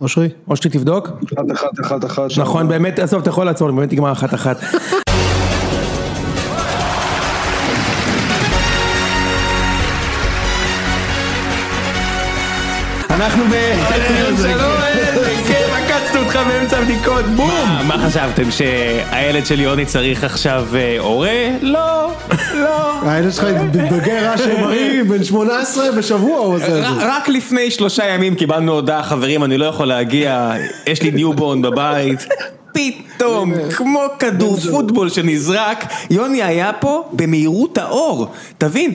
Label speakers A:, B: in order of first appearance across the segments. A: אושרי?
B: אושרי תבדוק.
C: אחת אחת אחת אחת.
B: נכון, באמת, עזוב, אתה יכול לעצור, באמת נגמר אחת אחת. אנחנו ב... שלום, איזה כיף, עקצנו אותך באמצע הבדיקות, בום!
D: מה חשבתם, שהילד של יוני צריך עכשיו אה, הורה? לא, לא.
A: הילד שלך מתבגר אשר בריא, בן 18 בשבוע הוא עושה את
D: ר-
A: זה.
D: רק לפני שלושה ימים קיבלנו הודעה, חברים, אני לא יכול להגיע, יש לי ניובורן בבית. פתאום, כמו כדור פוטבול שנזרק, יוני היה פה במהירות האור. תבין,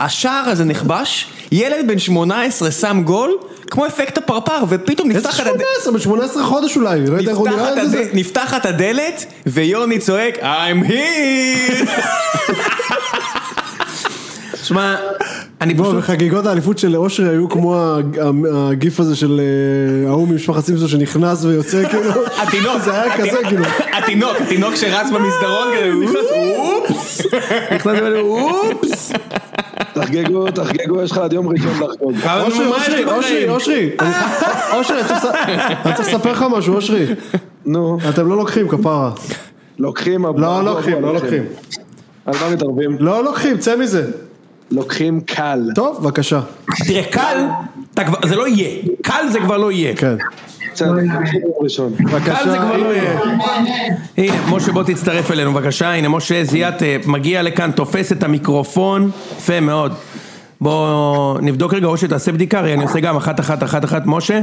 D: השער הזה נכבש, ילד בן 18 שם גול, כמו אפקט הפרפר, ופתאום
A: איזה
D: נפתחת הדלת.
A: 18? בן 18 חודש אולי, לא יודע איך הוא נראה
D: נפתחת
A: את זה.
D: הד- נפתחת הדלת, ויוני צועק, I'm here! שמע, אני
A: בוא,
D: פשוט...
A: וחגיגות האליפות של אושרי היו כמו ה- ה- הגיף הזה של אה, ההוא ממשפחת סימפסון שנכנס ויוצא כאילו.
D: התינוק,
A: זה היה
D: התי-
A: כזה כאילו.
D: התינוק, התינוק שרץ במסדרון כזה, אופס, נכנס ואומר, אופס,
C: תחגגו, תחגגו, יש לך עד יום ראשון לחגוג.
D: אבל נו,
A: אושרי,
D: מה יש לי
A: אושרי, אושרי,
D: בחיים?
A: אושרי, אני ח- אושרי, אני צריך לס- אני צריך לספר לך משהו, אושרי.
C: נו,
A: אתם לא לוקחים כפרה.
C: לוקחים... אבו-
A: לא
C: אבו-
A: לוקחים,
C: אבו-
A: לא לוקחים.
C: על מה מתערבים?
A: לא לוקחים, צא מזה.
C: לוקחים קל.
A: טוב, בבקשה.
B: תראה, קל, אתה כבר- זה לא יהיה. קל זה כבר לא יהיה.
A: כן.
C: בסדר, תקשיב יום ראשון.
A: בבקשה.
B: קל זה כבר לא
A: הנה.
B: יהיה. הנה, משה בוא תצטרף אלינו בבקשה, הנה משה זיאת אה, מגיע לכאן, תופס את המיקרופון, יפה מאוד. בוא נבדוק רגע, או שתעשה בדיקה, הרי אני עושה גם אחת אחת אחת אחת, משה,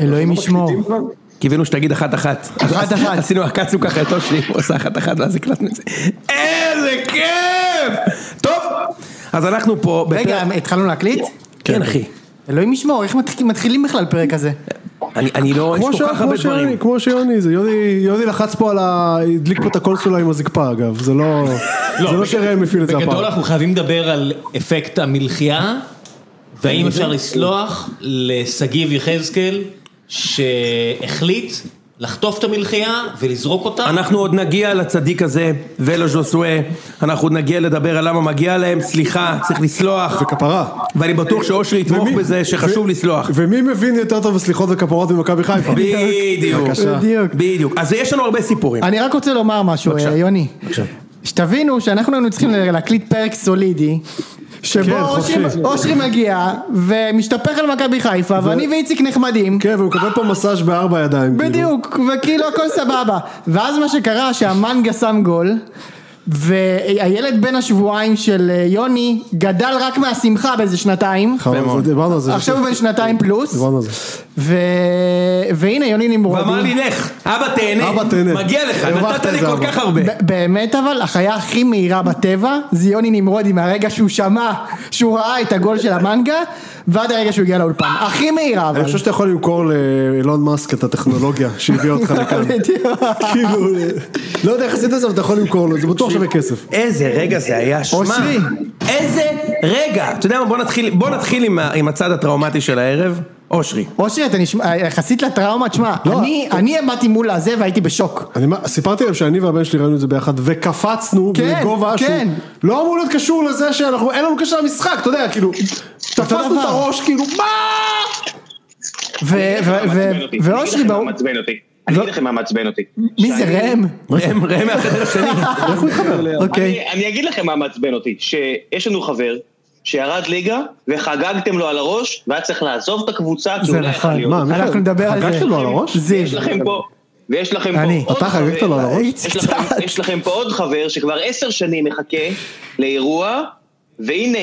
E: אלוהים ישמור.
C: מקליטים כבר?
B: קיווינו שתגיד אחת אחת.
E: אחת, אחת.
B: עשינו, עקצנו ככה את אושרי, הוא עושה אחת אחת ואז הקלטנו את זה. איזה כיף! טוב, אז אנחנו פה,
E: רגע,
B: בפרק-
E: התחלנו להקליט?
B: כן אחי,
E: אלוהים ישמור, איך מתח- מתחילים בכלל פרק כזה?
B: אני- אני לא,
A: כמו
B: יש כל
A: שה-
B: כך הרבה
A: כמו
B: דברים.
A: שיוני, כמו שיוני, זה יוני, יוני לחץ פה על ה... הדליק פה את הקונסולה עם הזקפה אגב, זה לא... זה לא שראם הפעיל את זה
F: בגדול
A: הפעם.
F: אנחנו חייבים לדבר על אפקט המלחייה, והאם אפשר לסלוח לשגיב יחזקאל, שהחליט לחטוף את המלחייה ולזרוק אותה.
B: אנחנו עוד נגיע לצדיק הזה ולז'וסואה, אנחנו עוד נגיע לדבר על למה מגיע להם, סליחה, צריך לסלוח.
A: כפרה.
B: ואני בטוח שאושרי יתמוך
A: ומי-
B: בזה שחשוב
A: ו-
B: לסלוח.
A: ומי מבין יותר טוב בסליחות וכפרות ממכבי חיפה?
B: בדיוק,
A: בבקשה.
E: בדיוק.
B: בדיוק. אז יש לנו הרבה סיפורים.
E: אני רק רוצה לומר משהו,
B: בבקשה.
E: אה, יוני. שתבינו שאנחנו היינו צריכים להקליט פרק סולידי. שבו
A: כן,
E: אושרי-
A: חופשי.
E: אושרי מגיע ומשתפך על מכבי חיפה ואני ואיציק נחמדים
A: כן, והוא מקבל פה מסאז' בארבע ידיים. כאילו.
E: בדיוק וכאילו הכל סבבה ואז מה שקרה שהמנגה שם גול והילד בן השבועיים של אה, יוני גדל רק מהשמחה באיזה שנתיים
A: חבל, זה- דיברנו על זה.
E: עכשיו הוא בן שנתיים פלוס
A: דיברנו על זה. לא
B: אה.
E: ו... והנה יוני נמרודי.
B: ואמר לי לך, אבא תהנה,
A: אבא תהנה.
B: מגיע לך,
A: הרווחת
B: נתת לי
A: את זה,
B: כל
A: אבא.
B: כך הרבה.
E: ב- באמת אבל, החיה הכי מהירה בטבע זה יוני נמרודי מהרגע שהוא שמע שהוא ראה את הגול של המנגה ועד הרגע שהוא הגיע לאולפן. הכי מהירה אבל.
A: אני חושב שאתה יכול למכור לאילון מאסק את הטכנולוגיה שהביאה אותך לכאן.
E: בדיוק.
A: כאילו, לא יודע איך עשית את זה, אבל אתה יכול למכור לו, זה בטוח שווה כסף.
B: איזה רגע זה היה, שמע.
E: אושרי.
B: איזה רגע. אתה יודע מה, בוא נתחיל- בוא נתחיל עם ה- עם הצד הטראומטי של הערב. אושרי.
E: אושרי, אתה נשמע, יחסית לטראומה, תשמע,
A: לא,
E: אני-
A: אתה-
E: אני עמדתי מול הזה והייתי בשוק.
A: אני מה- סיפרתי להם שאני והבן שלי ראינו את זה ביחד וקפצנו
E: כן,
A: בגובה שהוא
E: כן.
A: לא אמור להיות קשור לזה שאנחנו אין לנו קשר למשחק אתה יודע כאילו תפסנו
E: דבר.
A: את הראש כאילו מה
E: ו- ו- ו- ואושרי,
G: ברור.
E: ברור- לא-
G: אני אגיד לכם מה מעצבן אותי. אני אגיד לכם מה מעצבן אותי.
E: מי זה
G: שאני-
E: ראם?
B: ראם, ראם מהחדר השני.
A: איך הוא התחבר?
E: אוקיי.
G: אני- אני אגיד לכם מה מעצבן אותי. שיש לנו חבר שירד ליגה וחגגתם לו על הראש והיה צריך לעזוב את הקבוצה כי
E: זה
G: הוא לא יכול
E: נכון.
G: להיות.
A: מה, מיכאל,
E: אנחנו נדבר על זה.
A: חגגתם לו על הראש?
E: זיו.
G: יש לכם פה... ויש לכם פה
E: אני.
G: עוד
A: אתה
G: חבר-
A: חגגת לו על הראש?
G: יש לכם-
E: קצת.
G: יש לכם פה עוד חבר שכבר עשר שנים מחכה לאירוע, והנה,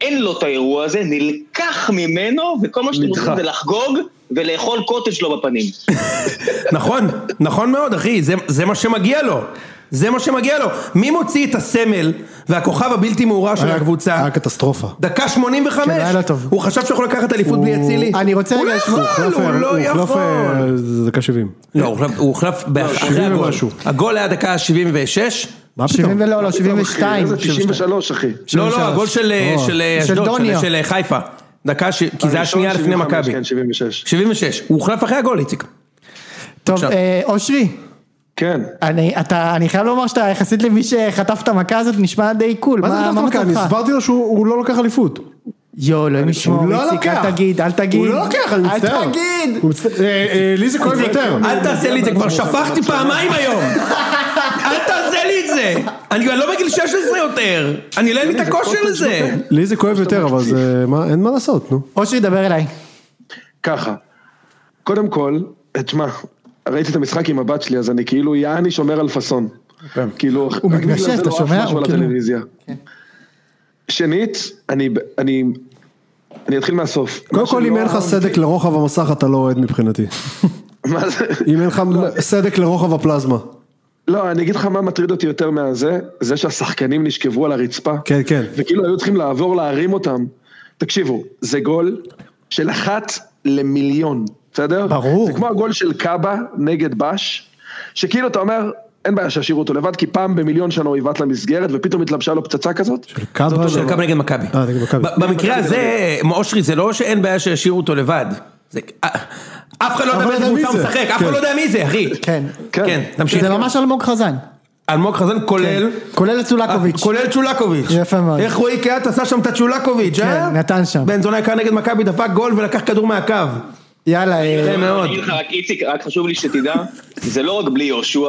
G: אין לו את האירוע הזה, נלקח ממנו, וכל מה שאתם רוצים זה לחגוג ולאכול קוטג' לו בפנים.
B: נכון, נכון מאוד אחי, זה, זה מה שמגיע לו. זה מה שמגיע לו. מי מוציא את הסמל והכוכב הבלתי מעורער של
A: היה-
B: הקבוצה?
A: היה קטסטרופה.
B: דקה 85,
E: אה, כן, היה לו טוב.
B: הוא חשב שהוא יכול לקחת אליפות בלי אצילי?
E: אני רוצה
B: הוא
E: רגע
B: לא
E: לשמוע-
B: יכול, הוא לא
A: הוחלף,
B: יכול.
A: אה, זה דקה 70.
B: לא, הוא הוחלף- הוא הוחלף אחרי
A: 70
B: הגול.
A: ומשהו.
B: הגול היה דקה 76.
A: מה פתאום?
E: 70 ולא, לא, 72.
G: אוקיי,
C: איזה 93 אחי.
B: לא, לא, הגול של אה,
A: או.
B: של, אה,
E: של
B: אשדוד,
E: דוניו.
B: של- של אה, חיפה. דקה, ש- כי זה היה
C: הראשון,
B: שנייה לפני
C: 75,
B: מכבי.
C: כן, 76.
B: 76, הוא הוחלף אחרי הגול, איציק.
E: טוב,
B: עכשיו.
E: אה, אושרי.
C: כן.
E: אני, אתה, אני חייב לומר שאתה יחסית למי שחטף את המכה הזאת נשמע די קול,
A: מה זה
E: מה,
A: כתב
E: מה
A: מכה? אני
E: מצבך?
A: הסברתי לו שהוא הוא לא לוקח אליפות.
E: יואו, אלוהים ישמור,
A: הוא לא
E: איציק,
A: לוקח.
E: אל תגיד, אל תגיד.
A: הוא לא לוקח, אני מצטער.
E: אל תגיד!
A: הוא מצט- אה, אה, לי זה כואב יותר.
B: אל תעשה לי את זה, כבר שפכתי פעמיים היום. אל תעשה לי את זה. אני כבר לא בגיל 16 יותר. אני לא אין לי את הכושר לזה.
A: לי זה כואב יותר, אבל זה... מה- אין מה לעשות, נו.
E: אושרי, דבר אליי.
C: ככה, קודם כל, תשמע, ראיתי את המשחק עם הבת שלי, אז אני כאילו יעני שומר על פאסון.
A: כן.
C: כאילו,
E: הוא
C: רק בגלל
E: מתנשף,
C: זה
E: אתה
C: לא עף
E: שומע?
C: משהו
E: הוא
C: על
E: כאילו-
C: הטלוויזיה. שנית, אני, אני, אני אתחיל מהסוף.
A: קודם
C: מה לא
A: כל,
C: שלא
A: אם אין לך
C: אהבתי-
A: סדק לרוחב המסך, אתה לא אוהד מבחינתי.
C: מה זה?
A: אם אין לך סדק לרוחב הפלזמה.
C: לא, אני אגיד לך מה מטריד אותי יותר מהזה, זה שהשחקנים נשכבו על הרצפה.
A: כן, כן.
C: וכאילו היו צריכים לעבור להרים אותם. תקשיבו, זה גול של אחת למיליון, בסדר?
E: ברור.
C: זה כמו הגול של קאבה נגד בש, שכאילו אתה אומר, אין בעיה שישאירו אותו לבד, כי פעם במיליון שנה הוא עיוות למסגרת, ופתאום התלבשה לו פצצה כזאת.
A: קאבה...
B: של מכבי נגד מכבי.
A: לא, אה, נגד מכבי.
B: ב- במקרה הזה, אושרי, זה לא שאין בעיה שישאירו אותו לבד. זה- אה, אף אחד לא יודע
A: אבל
B: באיזה
A: יודע מי
B: קבוצה הוא
A: זה.
B: משחק, אף אחד
A: כן.
B: לא יודע מי זה, אחי.
E: כן.
C: כן.
B: כן, תמשיך.
E: זה ממש אלמוג חזן.
B: אלמוג חזן כולל...
A: כן.
E: כולל את
A: אה,
E: סולקוביץ'.
B: אה, כולל צ'ולקוביץ'.
E: יפה מאוד. כן,
B: איך רועי קהת עשה שם את הצ'ולקוביץ', אה?
E: נתן שם.
B: בן זונה יקר נגד מכבי דפק גול ולקח כדור מהקו.
E: יאללה, אה,
B: יפה מאוד.
G: אני אגיד לך רק, איציק, רק חשוב לי שתדע, זה לא רק בלי יהושע,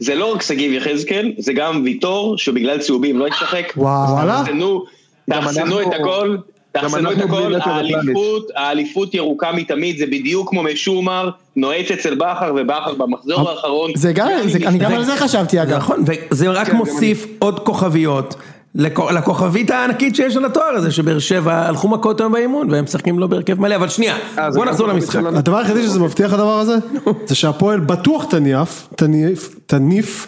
G: זה לא רק שגיב יחזקאל, זה גם ויטור, שבגלל צהובים לא ישחק.
E: וואו. וואלה?
G: תחסנו, תחסנו
C: אנחנו-
G: את הכל, תחסנו את
C: אנחנו בלי
G: הכל,
C: נטע
G: האליפות, האליפות ירוקה מתמיד, זה בדיוק כמו משומר, נועץ אצל בכר, ובכר במחזור האחרון.
E: זה גם, זה- אני גם על זה חשבתי אגב.
B: נכון, וזה
C: כן,
B: רק מוסיף עוד כוכביות. לכ- לכוכבית הענקית שיש על התואר הזה, שבאר שבע הלכו מכות היום באימון והם משחקים לא בהרכב מלא, אבל שנייה,
C: אה, זה
B: בוא
C: גם
B: נחזור
C: כוכבית
B: למשחק.
C: של הנ-
A: הדבר היחידי שזה מבטיח הדבר הזה, זה שהפועל בטוח תניף, תניף, תניף,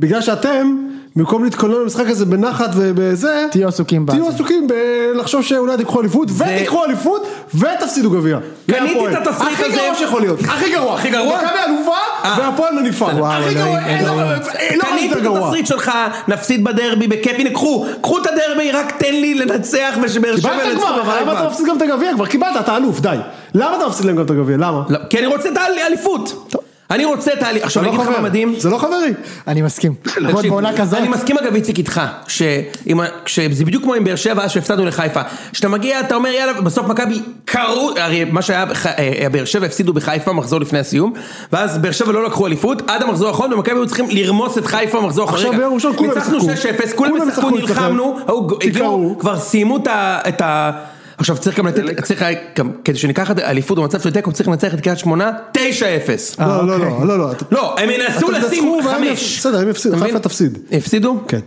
A: בגלל שאתם, במקום להתכונן למשחק הזה בנחת ובזה,
E: תהיו עסוקים
A: תהיו
E: בזה.
A: עסוקים בלחשוב שאולי תיקחו אליפות, ותיקחו אליפות, ותפסידו גביע.
B: קניתי את
A: להפועל.
B: התסריט הזה.
A: הכי גרוע שיכול להיות. הכי גרוע.
B: הכי גרוע?
A: מכבי אלופה, והפועל לא מניפה.
B: נכון.
E: וואו,
A: הכי גרוע,
E: אלוהים,
A: אין
E: אלוהים.
A: לא- אין לא
B: קניתי
A: יותר
B: את
A: גרוע.
B: התסריט שלך, נפסיד בדרבי, בכיף, הנה קחו, קחו את הדרבי, רק תן לי לנצח ושבאר שבע
A: קיבלת
B: ינצחו
A: כבר, אבל למה אתה
B: בחיפה.
A: מפסיד גם את הגביע? כבר קיבלת, אתה אלוף, די. למה אתה מפסיד להם גם את הגביע? למה?
B: לא, כי אני רוצה את האליפות. אני רוצה את האליפות. עכשיו אני אגיד לך מה מדהים.
A: זה לא חברי.
E: אני מסכים. למרות
B: תקשיב,
A: נכון,
E: בעונה כזאת,
B: אני מסכים אגב איציק איתך, שעם ה- שזה בדיוק כמו עם באר שבע אז שהפסדנו לחיפה, כשאתה מגיע אתה אומר יאללה בסוף מכבי קרו, הרי מה שהיה, בח- אה, באר שבע הפסידו בחיפה מחזור לפני הסיום, ואז באר שבע לא לקחו אליפות, עד המחזור האחרון ומכבי היו צריכים לרמוס את חיפה במחזור האחרון,
A: עכשיו
B: רגע,
A: ביום ראשון כולם ישחקו.
B: ניצחנו 6-0, כולם
A: כולם
B: ישחקו,
A: ישחקו אצלכם.
B: נלחמנו, ההוא ג-
A: תקראו.
B: הגיעו, כבר סיימו את ה- את ה... עכשיו צריך גם לתת, צריך, היה גם- כדי שניקח את האליפות במצב של תיקו צריך לנצח את קריית שמונה 9-0.
E: אה,
A: לא, לא,
E: אוקיי.
A: לא, לא, לא. אתה-
B: לא, הם ינסו
A: אתם
B: לשים
A: תנצחו והם
B: חמש.
A: יפ- בסדר, הם יפסידו,
B: אתה מבין?
A: חיפה תפסיד.
B: הפסידו?
A: כן.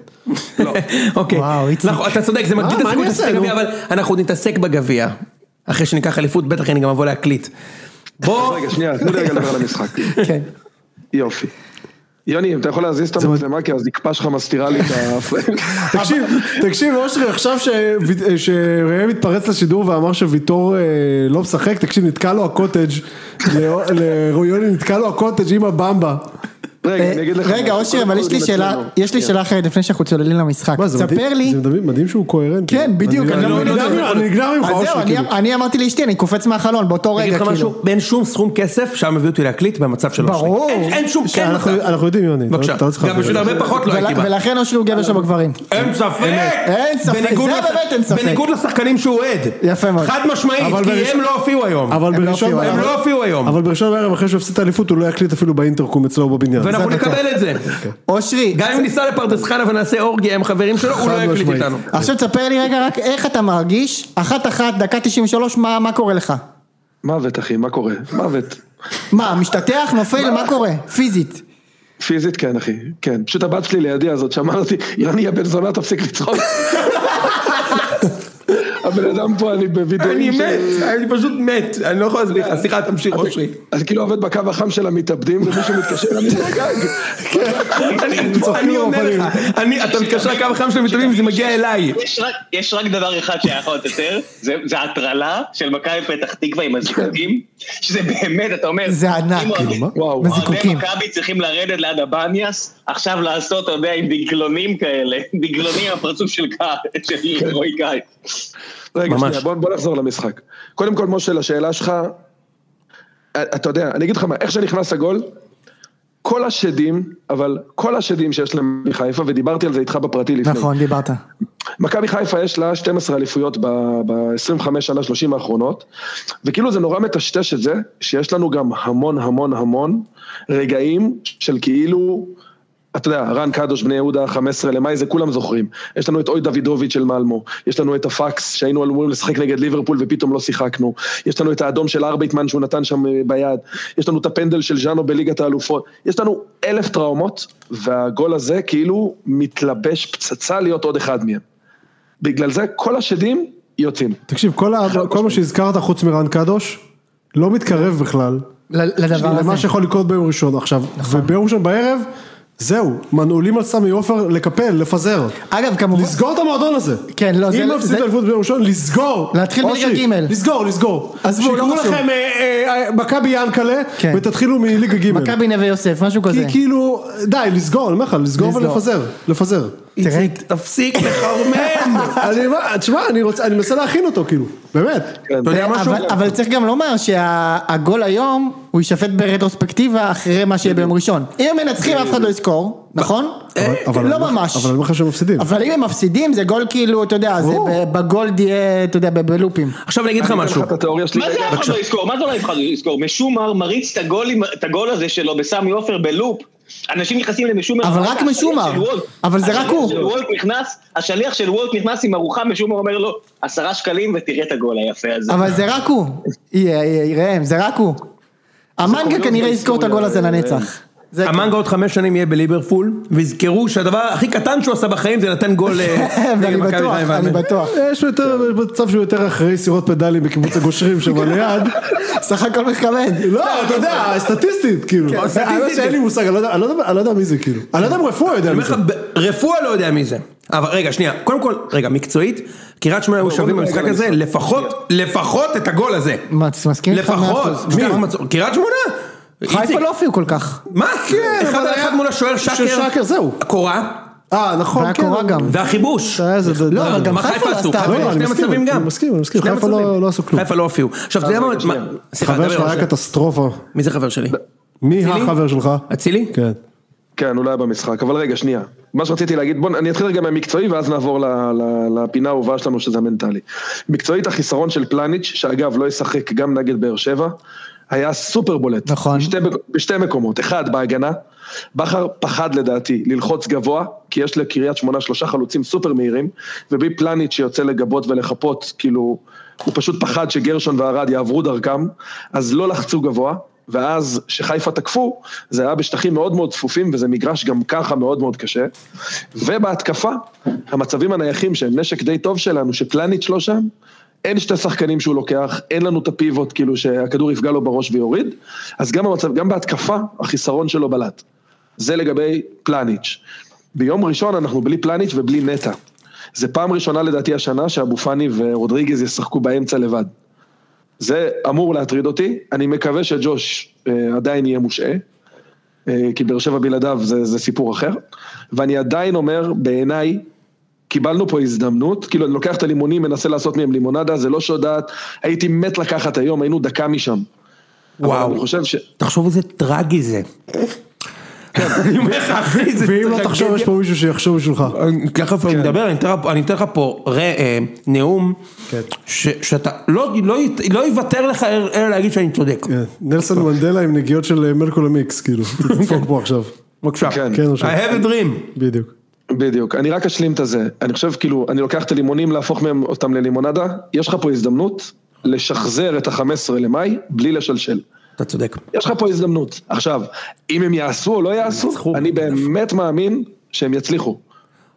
B: לא. אוקיי.
E: וואו, איציק. אה,
B: נכון, אתה צודק, זה
A: מה,
B: מגדיל את
A: מה אני
B: הסיכוי
A: אעשה,
B: להתעסק בגביע,
A: נו?
B: אבל אנחנו עוד נתעסק בגביע. אחרי שניקח אליפות, בטח אני גם אבוא להקליט. בוא,
C: רגע, שנייה, תנו לי רגע לדבר על המשחק.
E: כן.
C: יופי. יוני, אם אתה יכול להזיז את המצלמה, כי הזקפה שלך מסתירה לי את
B: אה,
C: ה...
A: תקשיב, תקשיב אושרי, עכשיו ש- אה, שראם התפרץ לשידור ואמר שוויטור אה, לא משחק, תקשיב, נתקע לו הקוטג', ל- לרויוני נתקע לו הקוטג' עם הבמבה.
C: רגע, אני אגיד לך.
E: אה, רגע,
C: משהו.
E: אושר,
C: קודם כל
E: אבל
C: לא.
E: יש לי
C: זה
E: שאלה,
C: מצלמה.
E: יש לי שאלה אחרת לפני שאנחנו צוללים למשחק.
A: מה, זה
E: ספר
A: מדהים-
E: לי,
A: זה מדהים- מדהים שהוא קוהרנטי.
E: כן, בדיוק,
A: אני
E: אני לא
A: אני
E: מבין את
A: נגנב
E: זה.
A: ממך, אני נגנב ממך,
E: אז אה, זהו,
A: אושרי,
E: אני-
A: כאילו.
E: אני אמרתי לאשתי, אני קופץ מהחלון באותו
B: אני אגיד
E: רגע,
B: לך משהו,
E: כאילו.
B: אין שום סכום כסף שהיה מביא אותי להקליט במצב של אושרי.
E: ברור.
B: אין אין שום, אין
A: אנחנו-
B: מצב.
A: אנחנו יודעים, יוני. אתה-
B: בבקשה,
A: אתה לא צריך
B: גם
A: להבין.
B: בשביל הרבה פחות לא
E: ול-
B: הייתי בא.
E: ולכן אושרי הוא גבר של הגברים.
B: אין ספק!
E: אין ספק,
B: בניגוד
E: זה
B: לש-
E: באמת אין ספק.
B: בניגוד לשחקנים שהוא אוהד.
E: יפה מאוד.
B: חד משמעית,
A: אבל
B: כי
A: בראש-
B: הם לא הופיעו היום.
A: אבל
E: הם לא
A: בראשון
E: הופיעו,
B: הם
A: בערב-
B: לא הופיעו היום.
A: אבל בראשון בערב אחרי שהוא הפסיד את האליפות הוא לא יקליט אפילו באינטרקום אצלו בבניין.
B: ואנחנו
E: זה בטוח. אוקיי.
B: נקבל את זה.
E: אושרי,
B: גם אם ניסע לפרדס חנה ונעשה אורגיה עם חברים שלו, הוא לא
A: חד
B: יקליט
A: משמעית.
B: איתנו.
E: עכשיו תספר לי רגע רק איך אתה מרגיש, אחת אחת, דקה 93, מה מה קורה לך?
C: מוות, אחי, מה קורה? מוות.
E: מה, משתטח, נופל, מה קורה? פיזית.
C: פיזית כן אחי, כן. פשוט הבת שלי לידי הזאת שאמרתי, יוני הבן זונה תפסיק לצחוק. הבן אדם פה אני בווידאוים של-
B: אני פשוט מת, אני לא יכול להסביר לך, סליחה תמשיך אושרי.
C: אני כאילו עובד בקו החם של המתאבדים ומישהו מתקשר, אני נרגג.
B: אני-
A: צוחקים
B: אני עונה
A: בפנים.
B: לך, אני- אתה מתקשר לקו החם של המתאבדים וזה מגיע אליי.
G: יש רק, יש רק דבר אחד שהיה יכול לתתר, זה, זה הטרלה של מכבי פתח תקווה עם הזיקוקים, שזה באמת, אתה אומר,
E: כן. זה ענק,
G: אם
E: כאילו,
G: אוהדי-
E: מה?
C: וואו.
G: אוהדי
E: בזיקוקים.
G: מכבי צריכים לרדת ליד הבניאס, עכשיו לעשות, אתה יודע, עם דגלונים כאלה, דגלונים עם הפרצוף של קאי, של רועי קאי.
C: רגע,
B: ממש.
C: שנייה, בוא בוא נחזור למשחק. קודם כל, אה, משה, לשאלה שלך, אתה יודע, אני אגיד לך מה, איך שנכנס הגול, כל השדים, אבל כל השדים שיש להם מחיפה, ודיברתי על זה איתך בפרטי לפני.
E: נכון, דיברת.
C: מכבי חיפה יש לה 12 אליפויות ב-25 שנה, 30 האחרונות, וכאילו זה נורא מטשטש את זה, שיש לנו גם המון המון המון רגעים של כאילו, אתה יודע, רן קדוש, בני יהודה, 15 למאי, זה כולם זוכרים. יש לנו את אוי דוידוביץ' של מלמו, יש לנו את הפקס שהיינו אמורים לשחק נגד ליברפול ופתאום לא שיחקנו, יש לנו את האדום של ארבייטמן שהוא נתן שם אה, ביד, יש לנו את הפנדל של ז'אנו בליגת האלופות, יש לנו אלף טראומות, והגול הזה כאילו מתלבש פצצה להיות עוד אחד מהם. בגלל זה כל השדים יוצאים.
A: תקשיב, כל ה- כל מה שהזכרת חוץ מרן קדוש, לא מתקרב בכלל.
E: ל- לדבר הזה.
A: למה שיכול לקרות ביום ראשון עכשיו.
E: נכון.
A: וביום ראשון בערב, זהו, מנעולים על סמי עופר לקפל, לפזר.
E: אגב, כמובן...
A: לסגור את המועדון הזה.
E: כן, לא, זה-
A: אם מפסיד
E: זה-
A: אליפות ביום ראשון, לסגור.
E: להתחיל
A: אושרי,
E: בליגה ג'.
A: לסגור, לסגור.
E: עזבו, לא חשוב.
A: שיקראו לכם אה, אה, אה, מכבי ינקלה,
E: כן.
A: ותתחילו מליגה ג'.
E: מכבי נווה יוסף, משהו כזה.
A: כי כאילו, די, לסגור, אני אומר לך, לסגור
E: לסגור.
A: ולפזר, לפזר.
E: תראה,
B: תפסיק לחרמן.
A: אני אומר, תשמע, אני רוצה, אני מנסה להכין אותו, כאילו, באמת.
B: אתה יודע משהו?
E: אבל- אבל צריך גם לומר שהגול היום, הוא יישפט ברטרוספקטיבה אחרי מה שיהיה ביום ראשון. אם הם מנצחים אף אחד לא יזכור, נכון?
A: אבל-
E: לא
A: אבל-
E: ממש.
A: אבל אני אומר לך שהם מפסידים.
E: אבל אם הם מפסידים זה גול כאילו, אתה יודע, זה
A: ברור.
E: ב- בגולד יהיה, אתה יודע, ב- בלופים.
B: עכשיו אני אגיד לך
C: אני אתן
B: משהו.
C: לך את התיאוריה שלי
G: מה זה
C: רגע.
G: אף אחד לא יזכור? מה זה לא אף אחד לא יזכור? משומר מריץ את הגול עם- את הגול הזה שלו בסמי עופר בלופ. אנשים נכנסים למשומר.
E: אבל
G: הביתה,
E: רק
G: השליח
E: משומר.
G: של וולט-
E: אבל זה רק
G: השליח
E: הוא.
G: של וולט נכנס, השליח של וולט נכנס עם ארוחה, משומר אומר לו, עשרה שקלים ותראה את הגול היפה הזה.
E: אבל זה רק הוא. יהיה, יהיה, ראם, זה רק הוא. המנגה כנראה יזכור את הגול
B: אה,
E: הזה לנצח. זה כן.
B: המנגה עוד חמש שנים יהיה בליברפול, ויזכרו שהדבר הכי קטן שהוא עשה בחיים זה נתן גול. אה,
E: כן, ואני
B: למכבי
E: בטוח,
B: חיפה.
E: אני בטוח.
A: יש יותר מצב שהוא יותר אחרי סירות פדלים בקיבוץ הגושרים שם ליד.
E: סך הכל מכבד.
A: לא, אתה יודע, סטטיסטית, כאילו.
B: סטטיסטית.
A: האמת שאין לי מושג, אני לא יודע- אני לא יודע- אני לא יודע מי זה, כאילו. אני לא יודע אם רפואה יודע
B: אני
A: מי
B: אומר
A: זה.
B: לך, ב- רפואה לא יודע מי זה. אבל רגע, שנייה, קודם כל, רגע, מקצועית, קריית שמונה היו שווים
C: בוא נדבר
B: במשחק
C: על
B: הזה,
C: המשחק.
B: לפחות, לפחות את הגול הזה.
E: מה, אתה
A: כן,
E: מסכים איתך?
B: לפחות.
E: מאה אחוז.
B: מי? אנחנו מצאו- קריית שמונה?
E: חיפה
B: איציק,
E: לא הופיעו כל כך.
B: מה?
A: כן,
B: אחד
A: אבל
B: על
A: היה-
B: אחד מול השוער
A: של שקר,
B: שקר,
A: זהו.
B: הקורה,
A: אה, נכון,
E: והיה
A: כן.
E: קורה גם.
B: והחיבוש. אה,
A: זה היה איזה-
E: לא, אבל גם
B: מה
E: חיפה לא
B: עשו?
E: עשתה.
B: חיפה
A: לא,
B: היו
A: אני
B: שני
A: מסכים,
B: מצבים
A: אני
B: גם.
A: מסכים, אני מסכים,
B: שני
A: חיפה
B: מצבים.
A: לא- לא עשו כלום.
B: חיפה לא הופיעו. עכשיו, אתה יודע מה- מה... סליחה,
A: חבר
B: דבר,
A: שלך
B: אושר.
A: היה קטסטרופה.
B: מי זה חבר שלי?
A: מי
B: אצילי?
A: החבר שלך?
B: אצילי?
A: כן.
C: כן, אולי במשחק, אבל רגע, שנייה. מה שרציתי להגיד, בואו, אני אתחיל רגע מהמקצועי ואז נעבור ל, ל, לפינה האהובה שלנו שזה המנטלי. מקצועית החיסרון של פלניץ', שאגב לא ישחק גם נגד באר שבע, היה סופר בולט.
E: נכון.
C: בשתי, בשתי מקומות, אחד בהגנה, בכר פחד לדעתי ללחוץ גבוה, כי יש לקריית שמונה שלושה חלוצים סופר מהירים, ובי פלניץ' שיוצא לגבות ולחפות, כאילו, הוא פשוט פחד שגרשון וערד יעברו דרכם, אז לא לחצו גבוה. ואז שחיפה תקפו, זה היה בשטחים מאוד מאוד צפופים, וזה מגרש גם ככה מאוד מאוד קשה. ובהתקפה, המצבים הנייחים שהם נשק די טוב שלנו, שפלניץ' לא שם, אין שתי שחקנים שהוא לוקח, אין לנו את הפיבוט, כאילו שהכדור יפגע לו בראש ויוריד, אז גם המצב, גם בהתקפה, החיסרון שלו בלט. זה לגבי פלניץ'. ביום ראשון אנחנו בלי פלניץ' ובלי נטע. זה פעם ראשונה לדעתי השנה שאבו פאני ורודריגז ישחקו באמצע לבד. זה אמור להטריד אותי, אני מקווה שג'וש אה, עדיין יהיה מושעה, אה, כי באר שבע בלעדיו זה, זה סיפור אחר, ואני עדיין אומר, בעיניי, קיבלנו פה הזדמנות, כאילו אני לוקח את הלימונים, מנסה לעשות מהם לימונדה, זה לא שודעת, הייתי מת לקחת היום, היינו דקה משם. וואו. אבל אני חושב ש...
B: תחשוב איזה טרגי זה. אני אומר לך, אחי, זה
A: כן. ואם לא
B: טרגדיה.
A: תחשוב, יש כן. פה מישהו שיחשוב בשבילך.
B: אני- ככה אני מדבר, אני אתן לך פה- אני אתן לך פה ר- אה, נאום, ש- שאתה לא- לא י- לא יוותר לך אל- אלא להגיד שאני צודק.
A: כן. נלסון מנדלה עם נגיעות של מרקולה מיקס, כאילו. דפוק פה עכשיו.
B: בבקשה.
C: כן.
A: כן,
B: I
A: עכשיו.
B: have a dream.
A: בדיוק.
C: בדיוק, אני רק אשלים את הזה. אני חושב כאילו, אני לוקח את הלימונים להפוך מהם אותם ללימונדה, יש לך פה הזדמנות לשחזר את ה-15 למאי בלי לשלשל.
B: אתה צודק.
C: יש לך פה הזדמנות. עכשיו, אם הם יעשו או לא יעשו, אני באמת מאמין שהם יצליחו.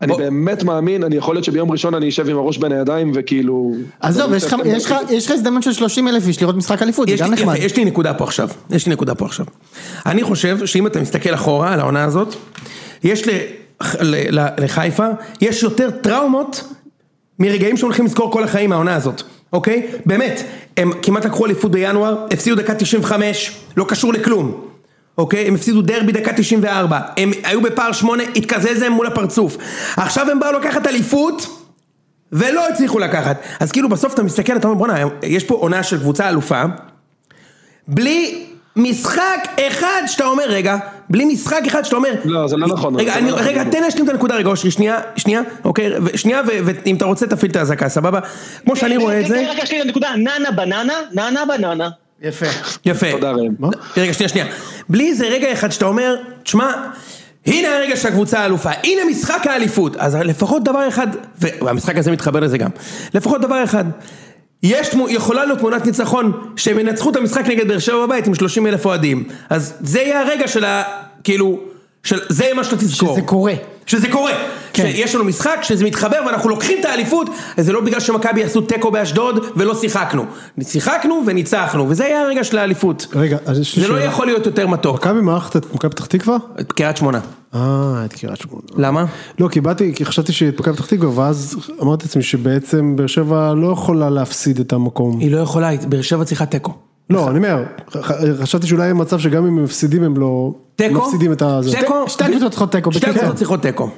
C: אני
B: בוא.
C: באמת מאמין, אני יכול להיות שביום ראשון אני אשב עם הראש בין הידיים וכאילו... כן.
E: עזוב,
C: אני
E: יש לך-
C: אשב-
E: יש לך- יש לך הזדמנות של 30 אלף איש לראות משחק אליפות, זה
B: יש
E: גם
B: לי-
E: נחמד.
B: יפה, יש לי נקודה פה עכשיו, יש לי נקודה פה עכשיו. אני חושב שאם אתה מסתכל אחורה על העונה הזאת, יש ל- ל- ל- לחיפה, יש יותר טראומות מרגעים שהולכים לזכור כל החיים מהעונה הזאת, אוקיי? באמת, הם כמעט לקחו אליפות בינואר, הפסידו דקה 95, לא קשור לכלום. אוקיי? הם הפסידו דרבי דקה 94, הם היו בפער 8, התקזז להם מול הפרצוף. עכשיו הם באו לקחת אליפות, ולא הצליחו לקחת. אז כאילו בסוף אתה מסתכל, אתה אומר בואנה, יש פה עונה של קבוצה אלופה, בלי משחק אחד שאתה אומר, רגע, בלי משחק אחד שאתה אומר...
C: לא, זה לא נכון,
B: רגע,
C: זה
B: אני-
C: לא נכון.
B: רגע, תן להשלים את הנקודה רגע, אושרי, שנייה, שנייה, אוקיי, ו- שנייה, ו- ואם אתה רוצה תפעיל את האזעקה, סבבה? כמו שאני רואה את זה,
G: רגע, יש לי נקודה, ננה בננה, ננה בננה.
E: יפה.
B: יפה.
C: תודה, ראם.
B: מה? רגע, שנייה, שנייה. בלי זה רגע אחד שאתה אומר, תשמע, הנה הרגע של הקבוצה האלופה, הנה משחק האליפות. אז לפחות דבר אחד, ו- והמשחק הזה מתחבר לזה גם, לפחות דבר אחד. יש, תמו- יכולה להיות תמונת ניצחון, שהם ינצחו את המשחק נגד באר שבע בבית עם 30 אלף אוהדים. אז זה יהיה הרגע של ה... כאילו, של, זה מה שאתה תזכור.
E: שזה קורה.
B: שזה קורה,
E: כן.
B: שיש לנו משחק, שזה מתחבר ואנחנו לוקחים את האליפות, אז זה לא בגלל שמכבי עשו תיקו באשדוד ולא שיחקנו. שיחקנו וניצחנו, וזה היה הרגע של האליפות.
A: רגע, אז יש לי
B: זה לא
A: שאלה.
B: יכול להיות יותר מתוק.
A: מכבי מארחת את מכבי פתח תקווה?
B: קריית שמונה.
A: אה, את קריית שמונה.
B: למה?
A: לא, כי באתי, כי חשבתי שאת מכבי פתח תקווה, ואז אמרתי לעצמי שבעצם באר שבע לא יכולה להפסיד את המקום.
B: היא לא יכולה, היא- באר שבע צריכה תיקו.
A: לא, אני אומר, ח- חשבתי שאולי יהיה מצב שגם אם הם מפסידים הם לא...
B: תיקו?
A: מפסידים את ה... זה.
B: תיקו?
E: שתי הקבוצות צריכות תיקו,
B: שתי
E: בקיצור.
B: הקבוצות צריכות תיקו.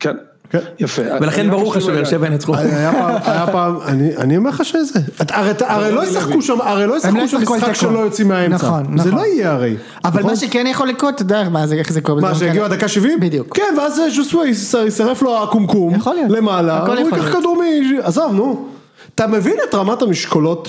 C: כן,
A: כן.
C: יפה.
B: ולכן ברור לך שבאר שבע ינצחו.
A: היה פעם, היה פעם, אני, אני אומר לך שזה, את- הרי, הרי לא ישחקו שם, הרי לא
E: לא
A: ישחקו שם
E: ישחקו על
A: משחק
E: תיקו.
A: שלא יוצאים מהאמצע,
E: נכון,
A: זה
E: נכון.
A: לא יהיה הרי,
E: אבל
A: נכון?
E: מה שכן יכול לקרות, אתה יודע מה זה, איך זה קורה.
A: מה,
E: בדברים
A: שהגיעו
E: כאלה.
A: עד דקה 70?
E: בדיוק.
A: כן, ואז ז'וסווה יישרף לו הקומקום,
E: יכול להיות.
A: למעלה,
E: הכל
A: הוא
E: יכול
A: ייקח
E: להיות.
A: כדור מ... עזוב, נו. אתה מבין את רמת המשקולות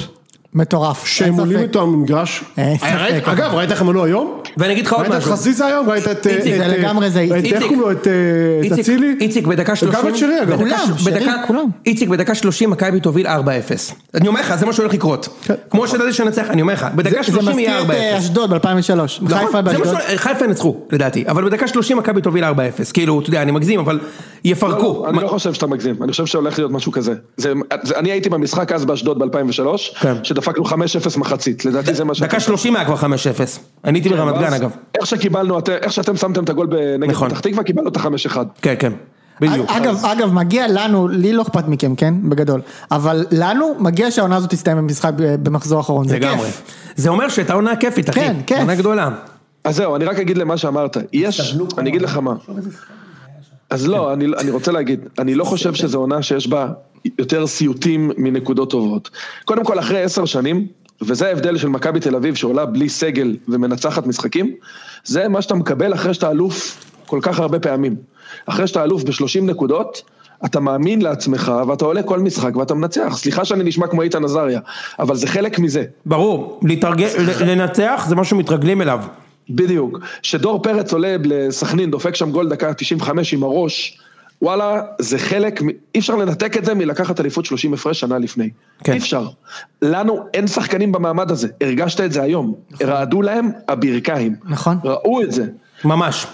E: מטורף.
A: שהם
E: אין
A: עולים
E: ספק.
A: איתו על המגרש?
E: אין
A: היה-
E: ספק.
A: ראית- אגב, ראית איך הם עלו היום?
B: ואני אגיד לך עוד
A: ראית את
B: משהו.
A: חזיזה היום? ראית את...
B: איציק,
A: את-
E: זה
A: את-
E: לגמרי זה
A: ראית
B: איציק.
A: איך קוראים לו? את אה, את
B: איציק,
A: אצילי?
B: איציק בדקה
A: וגם
B: 30,
A: את שרי, אגב.
B: בדקה-
E: כולם, שרי,
B: בדקה-
E: כולם.
B: איציק בדקה 30 מכבי תוביל 4-0. אני אומר לך, זה מה שהולך לקרות.
A: כן.
B: כמו שידעתי שננצח, אני אומר לך, בדקה
E: זה
B: 30 יהיה
E: מזכיר את
B: 4-0.
E: אה, אשדוד ב-2003.
B: נכון,
E: חיפה
B: זה מה
E: באשדוד.
B: ש- חיפה ינצחו, לדעתי, אבל בדקה 30 מכבי תוביל 4-0, כאילו, אתה יודע, אני מגזים, אבל יפרקו.
C: אני לא חושב שאתה מגזים, אני חושב שהולך להיות משהו כזה. זה- זה- אני הייתי במשחק אז באשדוד ב-2003,
B: כן.
C: שדפקנו 5-0 מחצית, לדעתי זה מה
B: דקה 30 היה כבר 5-0, אני
E: כן,
B: הייתי ברמת גן
C: ואז
B: אגב,
C: איך שקיבלנו, אתם- איך שאתם שמתם את הגול נגד
B: נכון.
C: פתח תקווה, קיבלנו את החמש אחד.
B: כן כן, בדיוק,
E: אגב, אגב, מגיע לנו, לי לא אכפת מכם, כן? בגדול. אבל לנו, מגיע שהעונה הזאת תסתיים במשחק ב- במחזור האחרון. זה
B: לגמרי,
E: כיף.
B: זה אומר שהייתה עונה כיפית אחי,
E: כן, כיף.
B: עונה גדולה,
C: אז זהו, אני רק אגיד למה שאמרת. יש, אני אגיד לך מה. אז לא, אני, אני רוצה להגיד, אני לא חושב שזו עונה שיש בה יותר סיוטים מנקודות טובות. קודם כל, אחרי עשר שנים, וזה ההבדל של מכבי תל אביב שעולה בלי סגל ומנצחת משחקים, זה מה שאתה מקבל אחרי שאתה אלוף כל כך הרבה פעמים. אחרי שאתה אלוף ב-30 נקודות, אתה מאמין לעצמך ואתה עולה כל משחק ואתה מנצח. סליחה שאני נשמע כמו איתן עזריה, אבל זה חלק מזה.
B: ברור, להתארגן- ל- לנצח זה משהו מתרגלים אליו,
C: בדיוק. שדור פרץ עולה לסכנין, דופק שם גול דקה 95 עם הראש, וואלה, זה חלק, מ- אי אפשר לנתק את זה מלקחת אליפות 30 הפרש שנה לפני.
B: כן.
C: כן. אי אפשר. לנו אין שחקנים במעמד הזה, הרגשת את זה היום. נכון. רעדו להם הברכיים.
E: נכון.
C: ראו את זה,
B: ממש,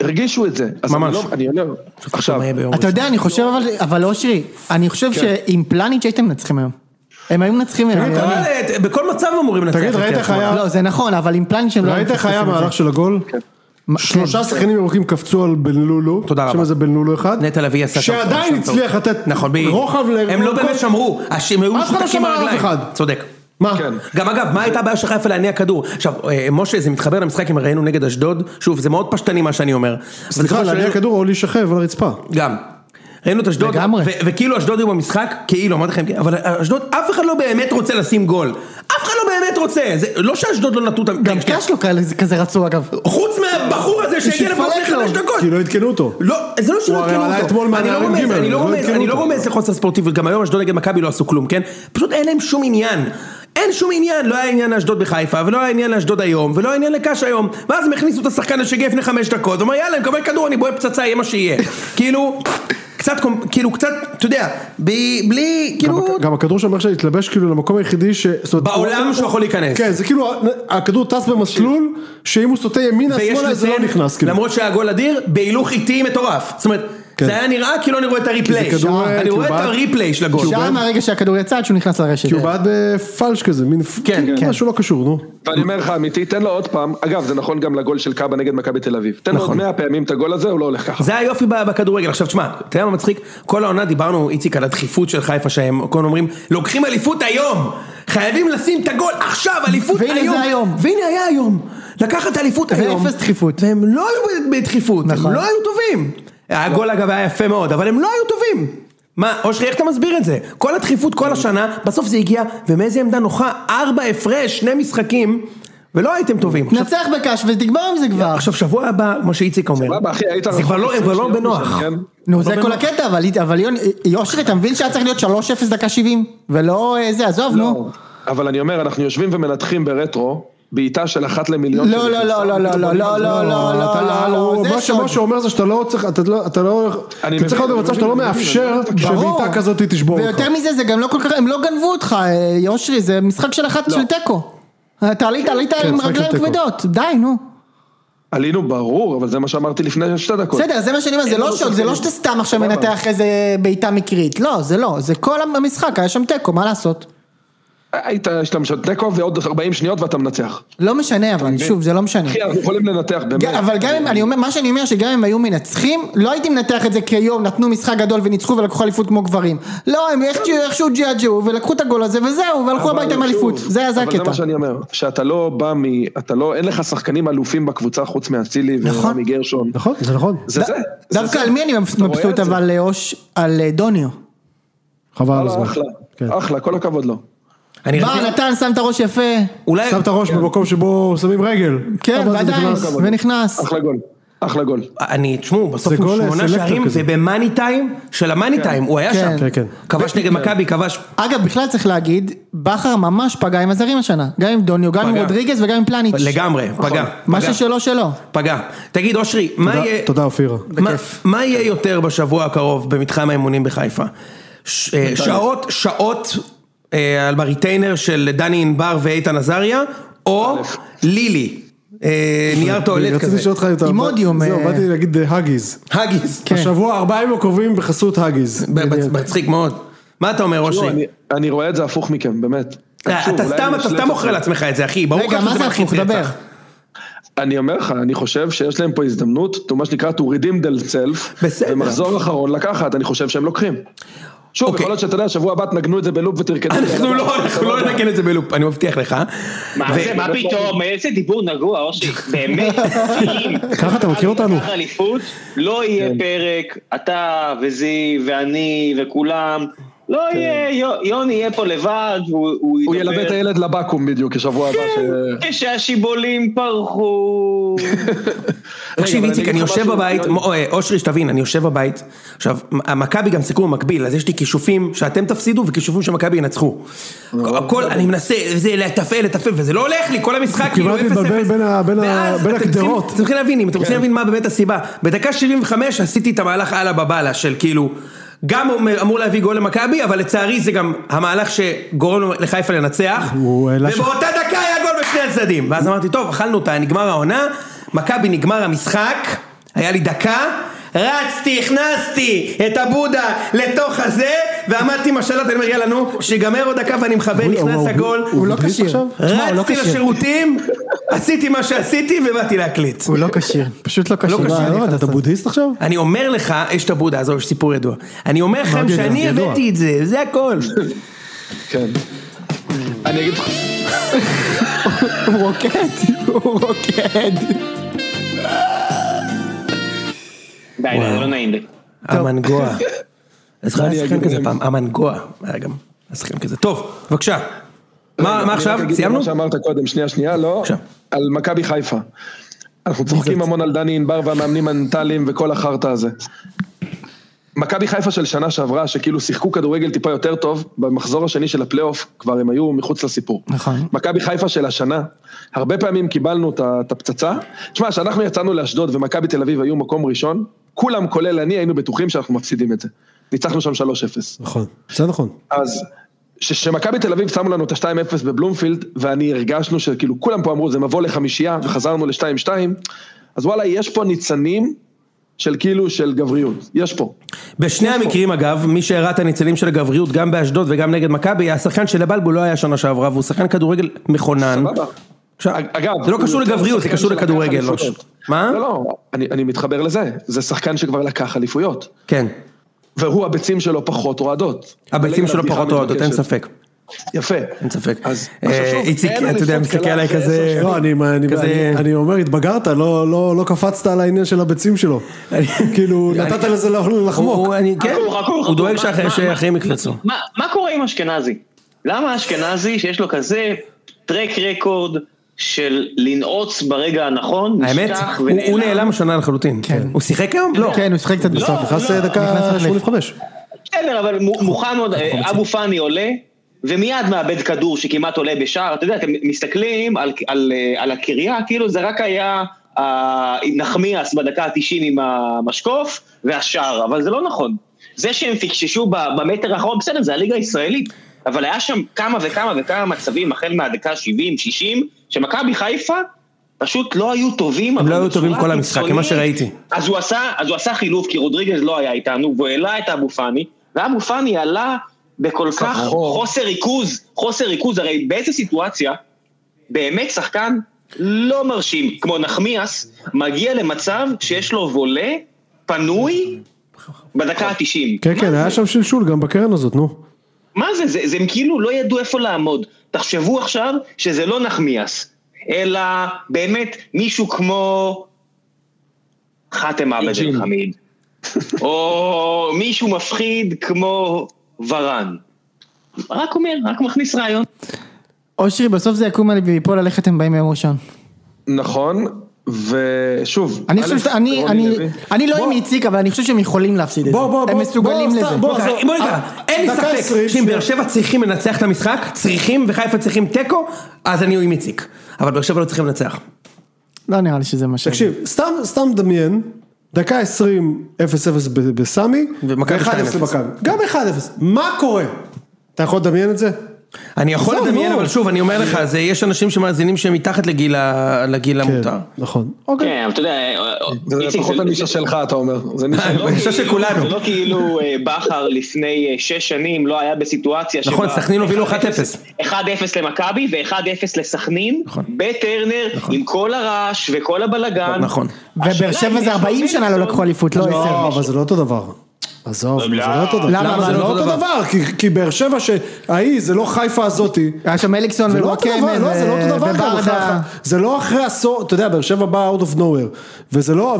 C: הרגישו את זה. אז
B: ממש.
C: אני לא, אני לא, עכשיו,
B: מה יהיה ביום
E: אתה יודע, אני חושב, אבל, אבל אושרי, אני
B: כן.
E: חושב שעם פלניץ' הייתם מנצחים היום. הם היו מנצחים היום.
B: אבל, אה, בכל מצב אמורים לנצח,
A: תגיד,
B: את
A: ראית
B: קריית
A: איך
B: שמונה.
A: היה-
E: לא, זה נכון, אבל עם פלניץ' הם לא...
A: ראית
E: היו
A: איך היה
E: מפספסים את
A: המהלך
E: זה.
A: של הגול?
B: כן.
E: מה- כן.
A: שלושה שחקנים ירוקים קפצו על בן לולו,
B: תודה רבה.
A: שם זה בן לולו אחד,
B: נטע לביא עשה שם-
A: שעדיין
B: שם טעות.
A: הצליח לתת
B: נכון, בדיוק.
A: רוחב ל...
B: הם לא באמת שמרו, הש- הם היו
A: אף אחד לא
B: משותקים
A: שמר על אף
B: ברגליים,
A: אחד.
B: צודק.
A: מה?
C: כן.
B: גם אגב, מה הייתה הבעיה של חיפה להניע כדור? עכשיו, אה, משה, זה מתחבר למשחק אם ראינו נגד אשדוד, שוב, זה מאוד פשטני מה שאני אומר.
A: סליחה,
B: במשחק
A: להניע
B: שראינו-
A: כדור או להישכב על הרצפה.
B: גם. ראינו את אשדוד,
E: לגמרי.
B: ו- וכאילו אשדוד היו במשחק, כאילו, אמרתי לכם, אבל אשדוד, אף אחד לא באמת רוצה לשים גול. אף אחד לא באמת רוצה, זה לא שאשדוד לא נטו את ה...
E: גם קאש לא כאלה- כזה רצו אגב.
B: חוץ מהבחור הזה שהגיע לפה
E: שיפרק
B: לפני חמש
E: לו.
B: דקות.
A: כי לא עדכנו אותו.
B: לא, זה לא שלא
A: הרי
B: עדכנו
A: עלה אתמול
B: אותו. אני לא
A: מהנערים
B: רומז,
A: ג',
B: אני לא
A: לא
B: רומז,
A: עדכנו
B: אני לא
A: אותו.
B: רומז לחוסר ספורטיביות, גם היום אשדוד נגד מכבי לא עשו כלום, כן? פשוט אין להם שום עניין. אין שום עניין, לא היה עניין לאשדוד בחיפה, ולא היה עניין לאשדוד היום, ולא היה עניין לקאש היום. ואז הם הכניסו את השחקן השגיע לפני חמש דקות, הוא אמר יאללה, אני מקבל כדור, אני בועט פצצה, יהיה מה שיהיה. כאילו, קצת, קומ- כאילו קצת, אתה יודע, ב- בלי,
A: גם
B: כאילו,
A: הכ- גם הכדור שם איך שהתלבש כאילו למקום היחידי ש... זאת אומרת,
B: בעולם
A: הוא-
B: שהוא יכול להיכנס.
A: כן, זה כאילו, הכדור טס במסלול, שאם הוא סוטה ימינה,
B: ויש
A: שמאלה, זה לא
B: לציין,
A: נכנס. כאילו.
B: למרות שהיה גול אדיר, בהילוך איטי מטורף. זאת אומרת,
A: כן.
B: זה היה נראה כאילו אני רואה את הריפליי.
A: כי זה כדור,
B: אני
A: כי הוא
B: רואה את
A: בעט-
B: הריפליי של הגול.
E: שעה מהרגע שהכדור יצא עד שהוא נכנס לרשת.
A: כי הוא בעד בפלש כזה, מין
B: כן,
A: כאילו
B: כן.
A: משהו לא קשור, נו.
C: ואני אומר לך אמיתי, תן לו עוד פעם, אגב, זה נכון גם לגול של קאבה נגד מכבי תל אביב. תן לו עוד 100 פעמים את הגול הזה, הוא לא הולך ככה.
B: נכון. זה היופי ב- בכדורגל. עכשיו תשמע, אתה יודע מה מצחיק? כל העונה דיברנו, איציק, על הדחיפות של חיפה שהם כל הזמן אומרים, לוקחים אליפות היום! חייבים לשים את הגול עכשיו, אליפות
E: והנה
B: היום!
E: זה היום.
B: והנה היה היום! לקחת אליפות היום.
E: ואפס דחיפות.
B: והם לא היו בדחיפות,
E: נכון.
B: הם לא היו טובים. הגול אגב היה יפה מאוד, אבל הם לא היו טובים. מה, אושרי, איך אתה מסביר את זה? כל הדחיפות כל השנה, בסוף זה הגיע, ומאיזה עמדה נוחה? ארבע הפרש, שני משחקים, ולא הייתם טובים. עכשיו-
E: נצח בקאש ותגמר עם זה כבר.
B: עכשיו שבוע הבא, כמו שאיציק אומר,
C: סבבה, אחי, היית נכון,
B: זה כבר
C: רחוק
B: לא, הם כבר לא
C: עשרים שניות
B: בנוח.
C: משם, כן?
E: נו, זה
A: לא-
E: כל הקטע, אבל אבל יוני, יושרי, אתה מבין שהיה צריך להיות 3-0 דקה 70? ולא אה, זה, עזוב, נו.
C: אבל אני אומר, אנחנו יושבים ומנתחים ברטרו, בעיטה של אחת למיליון.
E: לא, לא, לא, לא, לא, לא, לא, לא, לא, לא, לא, לא,
A: מה
E: זה
A: שמה
E: שוד.
A: שאומר זה שאתה לא צריך, אתה לא, אתה לא, אתה
C: מבין,
A: צריך להיות
C: אני
A: במצב שאתה לא
C: מבין,
A: מאפשר
E: ברור.
A: שבעיטה כזאת היא תשבור אותך.
E: ויותר מזה, זה גם לא כל כך, הם לא גנבו אותך, אה, יושרי, זה משחק של אחת של תיקו. אתה עלית, עלית עם
A: לא. כן, משחק של
E: רגליים
A: תיקו.
E: כבדות, די, נו.
C: עלינו, ברור, אבל זה מה שאמרתי לפני שתי דקות.
E: בסדר, זה מה שאני אומר, זה לא שוד, זה לא שאתה סתם עכשיו מנתח איזה בעיטה מקרית. לא, זה לא, זה כל המשחק, היה שם תיקו, מה לעשות?
C: היית, יש להם שם תיקו ועוד 40 שניות ואתה מנצח.
E: לא משנה, אבל שוב, זה לא משנה.
C: אחי, אנחנו יכולים לנתח
E: ג-
C: באמת.
E: אבל גם אם, אני אומר, מה שאני אומר שגם אם היו מנצחים, לא הייתי מנתח את זה כיום, נתנו משחק גדול וניצחו ולקחו אליפות כמו גברים. לא, הם איכשהו- איכשהו ג'יאג'ו ולקחו את הגול הזה וזהו, והלכו
C: אבל
E: הביתה עם
C: שוב,
E: אליפות. זה היה זה
C: אבל זה
E: הקטע.
C: מה שאני אומר, שאתה לא בא מ... אתה לא, אין לך שחקנים אלופים בקבוצה חוץ מאצילי ורמי גרשון.
A: נכון, זה נכון.
C: זה זה. זה
E: דווקא
C: זה.
E: על מי אני
C: אתה רואה את
E: מבסוט
C: זה?
E: אבל אה, אוש, על אה, דוניו.
A: חבל על
C: וואלה,
A: הזמן.
C: אחלה,
A: כן.
C: אחלה, כל הכבוד לו.
B: אני
E: בא,
B: רציתי,
E: נתן, שם את הראש יפה.
B: אולי,
A: שם את הראש
C: כן.
A: במקום שבו שמים רגל.
E: כן,
A: אבל זה
E: ועדיין,
A: נכנס.
E: ונכנס.
C: אחלה גול, אחלה גול.
B: אני, תשמעו, בסוף
A: זה
B: הוא
A: גול
B: שמונה
A: סלקטור
B: שערים,
A: כזה.
B: זה במאני טיים של המאני טיים, הוא היה
E: כן.
B: שם.
A: כן, כן.
B: כבש נגד מכבי, כבש...
E: אגב, בכלל צריך להגיד, בכר ממש פגע עם הזרים השנה. גם עם דוניו, גם עם
B: פגע.
E: רודריגז וגם עם פלניץ'.
B: לגמרי, פגע.
E: מה
B: פגע,
E: ששלו שלו.
B: פגע. תגיד, אושרי, מה
A: תודה-
B: יהיה...
A: תודה אופירה.
B: מה- מה יהיה יותר בשבוע הקרוב במתחם האימונים בחיפה? ש- אה, שעות, שעות אה, על בריטיינר של דני ענבר ואיתן עזריה, או לילי, אה, נייר טואלט
A: רציתי
B: כזה,
A: לשאול אותך אם אתה...
E: עם אודיום,
A: זהו,
E: אה,
A: באתי להגיד אה, האגיז.
B: הגיס,
E: כן.
A: השבוע ארבעים הקרובים בחסות האגיז.
B: ב- ב- מצחיק מאוד. מה אתה אומר
C: לא,
B: אושרי?
C: אני- אני רואה את זה הפוך מכם, באמת.
B: אה,
C: שוב,
B: אתה
C: אולי
B: סתם,
C: אני
B: אתה
C: אשלה
B: סתם
C: את
B: מוכר
C: עצמי.
B: לעצמך את זה, אחי, ברור לך
E: רגע, מה
B: שזה
E: זה הפוך?
B: מלחיץ
E: דבר.
B: רצח.
C: אני אומר לך, אני חושב שיש להם פה הזדמנות, מה שנקרא to redeem themselves,
B: בסדר.
C: ומחזור אחרון לקחת, אני חושב שהם לוקחים. שוב,
B: אוקיי.
C: יכול להיות שאתה יודע, שבוע הבא תנגנו את זה בלופ ותרקדו.
B: אנחנו לא, אנחנו לא ננגן את זה בלופ, אני מבטיח לך.
G: מה
B: ו-
G: זה, מה פתאום, איזה דיבור נגוע, אושרי, באמת, אם
A: ככה אתה מכיר אותנו?
G: תיקח אליפות, לא יהיה
C: כן.
G: פרק, אתה וזיו ואני וכולם, לא יהיה, יו- יוני יהיה פה לבד, והוא
C: כן. הוא ילווה את הילד לבקו"ם בדיוק, כשבוע הבא. ש-
G: כשהשיבולים פרחו.
B: תקשיב
C: אבל
B: איציק, אני
C: אני אגיד לך
B: יושב
C: משהו,
B: בבית,
C: יוני.
B: מ- אוי, אושרי שתבין, אני יושב בבית, עכשיו, המכבי גם סיכום מקביל, אז יש לי כישופים שאתם תפסידו וכישופים שמכבי ינצחו. הכל, אני מנסה, זה לתפעל, לתפעל, וזה לא הולך לי, כל המשחק כאילו 0-0.
A: כמעט מתבלבל בין ה- בין ה-
B: ואז
A: בין
B: אתם
A: הגדרות.
B: צריכים- אתם צריכים להבין, אם אתם
A: כן.
B: רוצים להבין מה באמת הסיבה, בדקה 75 עשיתי את המהלך על הבאבלה של כאילו... גם הוא אמור להביא גול למכבי, אבל לצערי זה גם המהלך שגורם לחיפה לנצח.
A: הוא העלה ש-
B: ובאותה דקה היה גול בשני הצדדים. ואז אמרתי, טוב, אכלנו אותה, נגמר העונה, מכבי נגמר המשחק, היה לי דקה, רצתי, הכנסתי את הבודה לתוך הזה, ועמדתי עם השלט, אני אומר, יאללה, נו, שיגמר עוד דקה ואני מכבה,
A: הוא- הוא-
B: נכנס הגול.
A: הוא
E: לא
A: מדליף
E: כשיר.
A: עכשיו?
E: תשמע, הוא לא
B: רצתי
E: כשיר.
B: לשירותים, עשיתי מה שעשיתי ובאתי להקליט.
E: הוא לא כשיר, פשוט לא כשיר.
B: כשיר,
E: אין
A: מה,
E: מה
A: לא, אתה
E: לעשות.
A: בודהיסט עכשיו?
B: אני אומר לך, יש את הבודה, עזוב, יש סיפור ידוע. אני אומר לכם
A: ידוע?
B: שאני
A: ידוע.
B: הבאתי את זה, זה הכל.
C: כן. אני אגיד לך,
E: הוא רוקד, הוא רוקד.
G: די, די, זה לא נעים לי.
B: המנגואה. אז לך היה שחקן כזה פעם, המנגואה. היה גם היה שחקן כזה. טוב, בבקשה. מה מה
C: אני
B: עכשיו?
C: רק אגיד
B: סיימנו?
C: מה שאמרת קודם, שנייה, שנייה, לא,
B: בבקשה.
C: על מכבי חיפה. אנחנו צוחקים המון על דני ענבר והמאמנים המנטליים וכל החרטא הזה. מכבי חיפה של שנה שעברה, שכאילו שיחקו כדורגל טיפה יותר טוב, במחזור השני של הפלייאוף כבר הם היו מחוץ לסיפור.
E: נכון.
C: מכבי חיפה של השנה, הרבה פעמים קיבלנו את ה- את הפצצה. תשמע, כשאנחנו יצאנו לאשדוד ומכבי תל אביב היו מקום ראשון, כולם, כולל אני, היינו בטוחים שאנחנו מפסידים את זה. ניצחנו שם 3-0.
A: נכון, זה נכון.
C: אז כשמכבי תל אביב שמו לנו את ה-2-0 בבלומפילד, ואני הרגשנו שכאילו כולם פה אמרו זה מבוא לחמישייה, וחזרנו ל-2-2, אז וואלה, יש פה ניצנים של כאילו של גבריות, יש פה.
B: אוקיי. בשני המקרים אגב, מי שהראה את הניצנים של הגבריות גם באשדוד וגם נגד מכבי, השחקן של הבלבו לא היה שנה שעברה, והוא שחקן כדורגל מכונן.
C: סבבה.
B: עכשיו,
C: אגב,
B: זה לא
C: הוא
B: קשור
C: יותר
B: לגבריות, זה
C: שחקן
B: קשור
C: שלקח
B: לכדורגל. לא
C: אליפויות.
B: ש- מה?
C: לא, לא, אני, אני מתחבר לזה, זה שחקן שכבר לקח אליפויות,
B: כן.
C: והוא הביצים שלו פחות רועדות.
B: הביצים שלו
C: הבדיחה
B: פחות אוהדות, אין
C: מתבקשת.
B: ספק.
C: יפה.
B: אין ספק.
C: אז
B: אה,
C: עכשיו שוב,
B: איציק,
C: אין
B: אתה יודע,
C: אליפות
B: מסתכל
C: קלה
B: עליי
C: אחרי
B: כזה-
C: עשר שנים.
A: לא, אני, אני,
B: אה, כזה-
A: אני, אני אומר, התבגרת, לא, לא, לא קפצת על העניין של הביצים שלו. כאילו, נתת לזה לחמוק.
B: הוא- אני- כן,
G: חכו, חכו,
B: הוא
G: חכו,
B: דואג
G: מה-
B: שאחרי-
G: מה-
B: שאחרים יקפצו.
G: מה, מה קורה עם אשכנזי? למה אשכנזי שיש לו כזה טרק רקורד של לנעוץ ברגע הנכון,
B: האמת,
G: נשכח
B: הוא- הוא נעלם השנה לחלוטין. הוא שיחק היום? לא.
E: כן, הוא שיחק קצת בסוף.
A: נכנס דקה 85.
G: בסדר, אבל מו- מוחמד, אה, אבו פאני עולה, ומיד מאבד כדור שכמעט עולה בשער. אתה יודע, אתם מסתכלים על, על, אה, על הקריה, כאילו זה רק היה אה, נחמיאס בדקה ה-90 עם המשקוף והשער, אבל זה לא נכון. זה שהם פיקששו ב- במטר האחרון, בסדר, זה הליגה הישראלית, אבל היה שם כמה וכמה וכמה מצבים, החל מהדקה ה-70, 60, שמכבי חיפה... פשוט לא היו טובים,
B: הם
G: אבל
B: לא היו טובים
G: בצורה
B: כל המשחק,
G: קיצונית.
B: כמה שראיתי.
G: אז הוא עשה, אז הוא עשה חילוף, כי רודריגז לא היה איתנו, והוא העלה את אבו פאני, ואבו פאני עלה בכל כך חוסר ריכוז, חוסר ריכוז, הרי באיזה סיטואציה באמת שחקן לא מרשים, כמו נחמיאס, מגיע למצב שיש לו וולה פנוי בדקה ה-90.
A: כן, כן, היה שם שלשול גם בקרן הזאת, נו.
G: מה זה? זה, זה הם כאילו לא ידעו איפה לעמוד. תחשבו עכשיו שזה לא נחמיאס, אלא באמת מישהו כמו חאתם עבד אל חמיד, או מישהו מפחיד כמו ורן. רק אומר, רק מכניס רעיון.
E: אושרי, בסוף זה יקום עלי ויפול עליך אתם באים ביום ראשון.
C: נכון, ושוב,
E: אני
C: א',
E: חושב שאתה, אני,
C: רוני
E: אני,
C: לוי.
E: אני לא עם איציק, אבל אני חושב שהם יכולים להפסיד את זה.
A: בוא, בוא, בוא.
E: הם מסוגלים
A: בוא,
E: לזה.
A: סתם, בוא,
B: רגע,
A: עזוב.
B: בוא נדע,
A: אה,
B: אין לי
A: דקה
B: ספק
A: עשרים,
B: שאם באר
A: שנייה.
B: שבע צריכים לנצח את המשחק, צריכים, וחיפה צריכים תיקו, אז אני עם איציק. אבל באר שבע לא צריכים לנצח.
E: לא נראה לי שזה מה ש...
A: תקשיב, סתם, סתם דמיין, דקה 20, 0-0 ב- בסמי,
B: ומכבי
A: ו- 1-0
B: 2-0.
A: למכבי. גם 1-0, מה קורה? אתה יכול לדמיין את זה?
B: אני יכול
A: עזוב,
B: לדמיין,
A: נו.
B: אבל שוב, אני אומר לך, זה- יש אנשים שמאזינים שהם מתחת לגיל ה- לגיל המותר.
A: נכון. אוקיי.
G: כן, אבל אתה יודע,
C: זה פחות הנישה שלך, אתה אומר. זה נישה
G: לא
B: בגישה של
G: כאילו-
B: כולנו.
G: זה לא כאילו אה, בכר לפני אה, שש שנים לא היה בסיטואציה שבה...
B: נכון, סכנין הובילו 1-0.
G: 1-0 למכבי ו-1-0 לסכנין,
B: נכון.
G: בטרנר,
A: נכון.
G: עם כל הרעש וכל הבלגן.
B: נכון.
E: ובאר
G: השאלה אם
E: שבע
G: יש
E: זה 40
G: מישהו-
E: שנה לא לקחו אליפות, לא
A: לא,
E: 10.
A: אבל זה לא אותו דבר. עזוב, זה לא אותו דבר.
E: למה?
A: זה לא אותו דבר? כי- כי באר שבע שההיא, זה לא חיפה הזאתי.
E: היה שם אליקסון
A: זה לא אותו
E: ווואקמה
A: דבר, לא, זה לא אותו דבר גם אחרי
E: וברדה.
A: אחר- זה לא אחרי עשור, אתה יודע, באר שבע באה out of nowhere, וזה לא,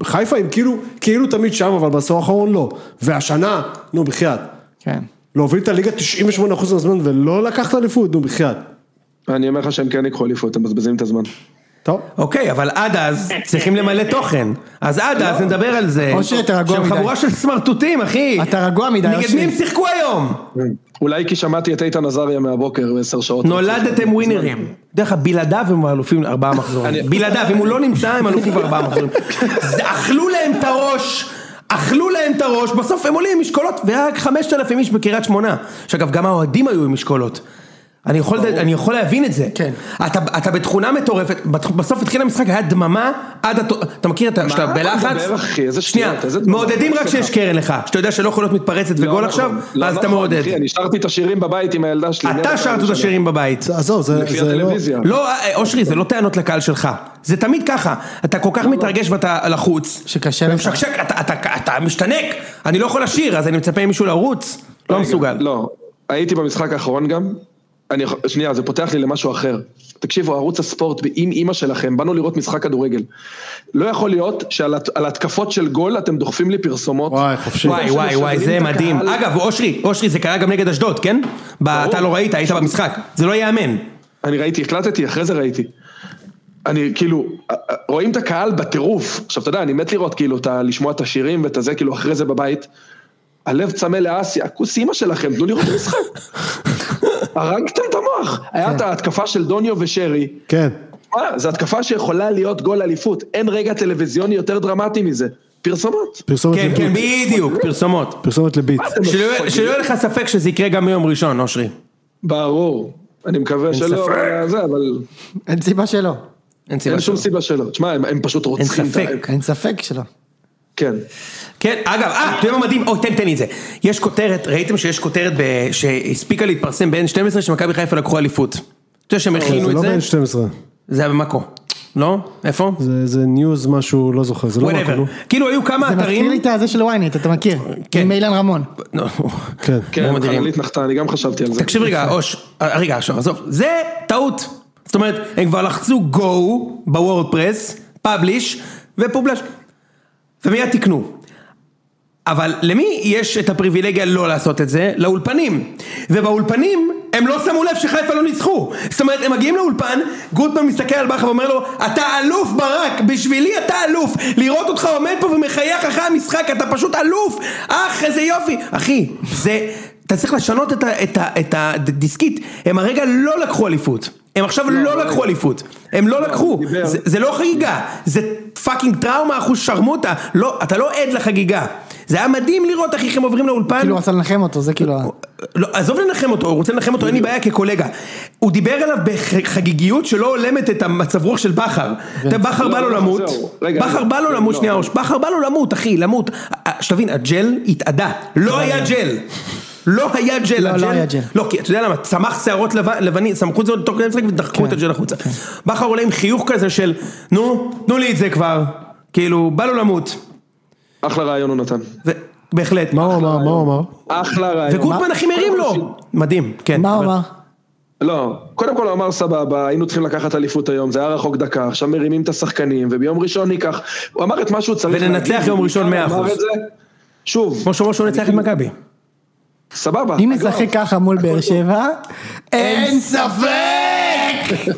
A: וחיפה אה, הם כאילו, כאילו תמיד שם, אבל בעשור האחרון לא, והשנה, נו בחייאת,
E: כן.
A: להוביל את הליגה 98% מהזמן ולא לקחת אליפות, נו בחייאת,
C: אני אומר לך שהם כן יקחו אליפות, הם מבזבזים את הזמן.
A: טוב,
B: אוקיי, אבל עד אז צריכים למלא תוכן. אז עד אז נדבר על זה.
E: אושר, אתה רגוע
B: שהם
E: מדי.
B: חבורה של סמרטוטים, אחי.
E: אתה רגוע מדי,
B: נגד
E: אושר.
B: מי הם שיחקו היום?
C: אולי כי שמעתי את איתן עזריה מהבוקר בעשר שעות.
B: נולדתם ווינרים. דרך אגב, בלעדיו הם אלופים ארבעה מחזורים. בלעדיו, אם הוא לא נמצא, הם אלופים ארבעה מחזורים. זה- אכלו להם את הראש, אכלו להם את הראש, בסוף הם עולים עם משקולות, והיה רק חמשת אלפים איש בקריית שמונה. שאגב, גם האוהדים היו עם משקולות. אני יכול, אני יכול להבין את זה.
E: כן.
B: אתה, אתה בתכונה מטורפת, בת- בסוף התחיל המשחק, היה דממה עד התו... אתה מכיר את ה... שאתה
C: אתה
B: בלחץ?
C: מדבר, אחי? איזה
B: שנייה,
C: שטויות, איזה דממה?
B: מעודדים רק שיש קרן לך, שאתה יודע שלא יכול להיות מתפרצת וגול עכשיו,
C: לא
B: ואז אתה
C: נכון,
B: מעודד.
C: אחי, אני שרתי את השירים בבית עם הילדה שלי. לא
B: אתה שרת את השירים בבית.
A: זה- עזוב, זה
C: לפי
A: זה לא,
C: הטלוויזיה.
B: לא, אה, אושרי, זה לא טענות לקהל שלך. זה תמיד ככה. אתה כל כך מתרגש ואתה לחוץ.
E: שקשה לך.
B: ומשקשק, אתה- אתה- אתה משתנק. אני לא יכול לשיר, אז אני מצפה ממישהו לרוץ. לא מסוגל.
C: לא, הייתי במשחק האחרון גם. אני, יכול- שנייה, זה פותח לי למשהו אחר. תקשיבו, ערוץ הספורט, עם אימא שלכם, באנו לראות משחק כדורגל. לא יכול להיות שעל הת- על התקפות של גול אתם דוחפים לי פרסומות.
A: וואי חופשי,
B: וואי
C: שהם
B: וואי וואי, זה
C: משדרים לא, את
B: מדהים.
C: הקהל.
B: אגב, אושרי, אושרי, זה קרה גם נגד אשדוד, כן? ב- אתה לא ראית, היית במשחק. זה לא ייאמן.
C: אני ראיתי, הקלטתי, אחרי זה ראיתי. אני כאילו, רואים את הקהל בטירוף. עכשיו, אתה יודע, אני מת לראות כאילו, את ה- לשמוע את השירים ואת הזה, כאילו, אחרי זה בבית. הלב צמא לאסיה, כוס אימא שלכם, תנו לראות את המשחק. הרגתם את המוח.
B: כן.
C: היה את ההתקפה של דוניו ושרי.
A: כן,
C: מה, זו התקפה שיכולה להיות גול אליפות. אין רגע טלוויזיוני יותר דרמטי מזה. פרסומות.
A: פרסומת
B: כן, כן,
A: לביט,
B: בדיוק,
C: לא
B: פרסומות.
A: פרסומת לביט,
C: אתם
B: שלא יהיה-
C: מפגרים.
B: שלא יהיה לך ספק שזה יקרה גם ביום ראשון, אושרי.
C: ברור. אני מקווה שלא, אבל זה, אבל
E: אין סיבה שלא.
B: אין סיבה
C: אין שום
B: שלא.
C: סיבה שלא. תשמע, הם- הם פשוט
B: אין
C: רוצחים את ה...
B: ספק.
E: אין ספק שלא.
C: כן.
B: כן, אגב, אה, אתה יודע מה מדהים? אוי, תן, תן לי את זה. יש כותרת, ראיתם שיש כותרת ב- שהספיקה להתפרסם ב-N12 שמכבי חיפה לקחו אליפות. אתה יודע שהם הכינו
A: זה
B: כאילו את
A: לא
B: זה?
A: בין 12,
B: זה היה במאקו. לא? איפה?
A: זה- זה ניוז משהו, לא זוכר, זה לא מה
B: וואטאבר.
A: קורה,
B: כאילו היו כמה
E: זה מזכיר לי
B: אתרים...
E: את הזה של ynet, אתה מכיר?
B: כן.
E: עם אילן רמון.
B: לא,
A: כן,
C: כן,
B: מדהים.
C: חללית נחתה, אני גם חשבתי על זה.
B: תקשיב רגע, אוש, אה, רגע, עכשיו, עזוב, זה טעות. זאת אומרת, הם כבר לחצו go בוורדפרס, פאבליש ופובלש, ומיד תיקנו. אבל למי יש את הפריבילגיה לא לעשות את זה? לאולפנים. ובאולפנים הם לא שמו לב שחיפה לא ניצחו. זאת אומרת, הם מגיעים לאולפן, גוטמן מסתכל על בכר ואומר לו, אתה אלוף ברק, בשבילי אתה אלוף. לראות אותך עומד פה ומחייך אחרי המשחק, אתה פשוט אלוף. אח, איזה יופי. אחי, זה... אתה צריך לשנות את ה- את ה- את הדיסקית. הם הרגע לא לקחו אליפות. הם עכשיו לא לקחו אליפות. הם לא לקחו.
C: דיבר.
B: זה- זה לא חגיגה, זה פאקינג טראומה אחוז שרמוטה, לא, אתה לא עד לחגיגה. זה היה מדהים לראות איך הם עוברים לאולפן.
E: כאילו הוא רצה לנחם אותו, זה כאילו... ה-
B: לא, עזוב לנחם אותו, הוא רוצה לנחם אותו, אין לי בעיה כקולגה. הוא דיבר עליו בחגיגיות שלא הולמת את המצב רוח של בכר.
E: כן.
B: אתה, בכר בא לו
C: לא,
B: למות,
C: זהו, רגע,
B: בכר
C: רגע,
B: בא לו
C: לא,
B: למות,
C: לא.
B: שנייה אוש, בכר בא לו למות, אחי, למות. אה, שתבין, הג'ל התאדה, לא היה ג'ל. לא היה ג'ל,
E: לא, לא היה ג'ל.
B: לא, כי אתה יודע למה, צמח שערות לבן- לבנים, צמחו את זה עוד תוך כדי המשחק ודחקו
E: כן,
B: את הג'ל החוצה. בכר עולה עם חיוך כזה של, נו, תנו לי את זה כבר. כאילו, בא לו למות.
C: אחלה רעיון הוא נתן.
B: ו- בהחלט.
A: מה הוא אמר? מה הוא אמר?
C: אחלה רעיון.
B: וגוטמן הכי מרים לו. מדהים, כן.
E: מה הוא
B: אבל-
E: אמר?
C: לא, קודם כל הוא אמר סבבה, היינו צריכים לקחת אליפות היום, זה היה רחוק דקה, עכשיו מרימים את השחקנים, וביום ראשון ניקח. הוא אמר את מה שהוא צריך
B: וננצח יום
C: הוא
B: ראשון
C: אמר
B: 100%.
C: את זה. שוב,
B: כמו שאומר שהוא נצח את מכבי.
C: סבבה.
E: אם
C: אגב,
E: נשחק ככה מול באר שבע, אין ספק!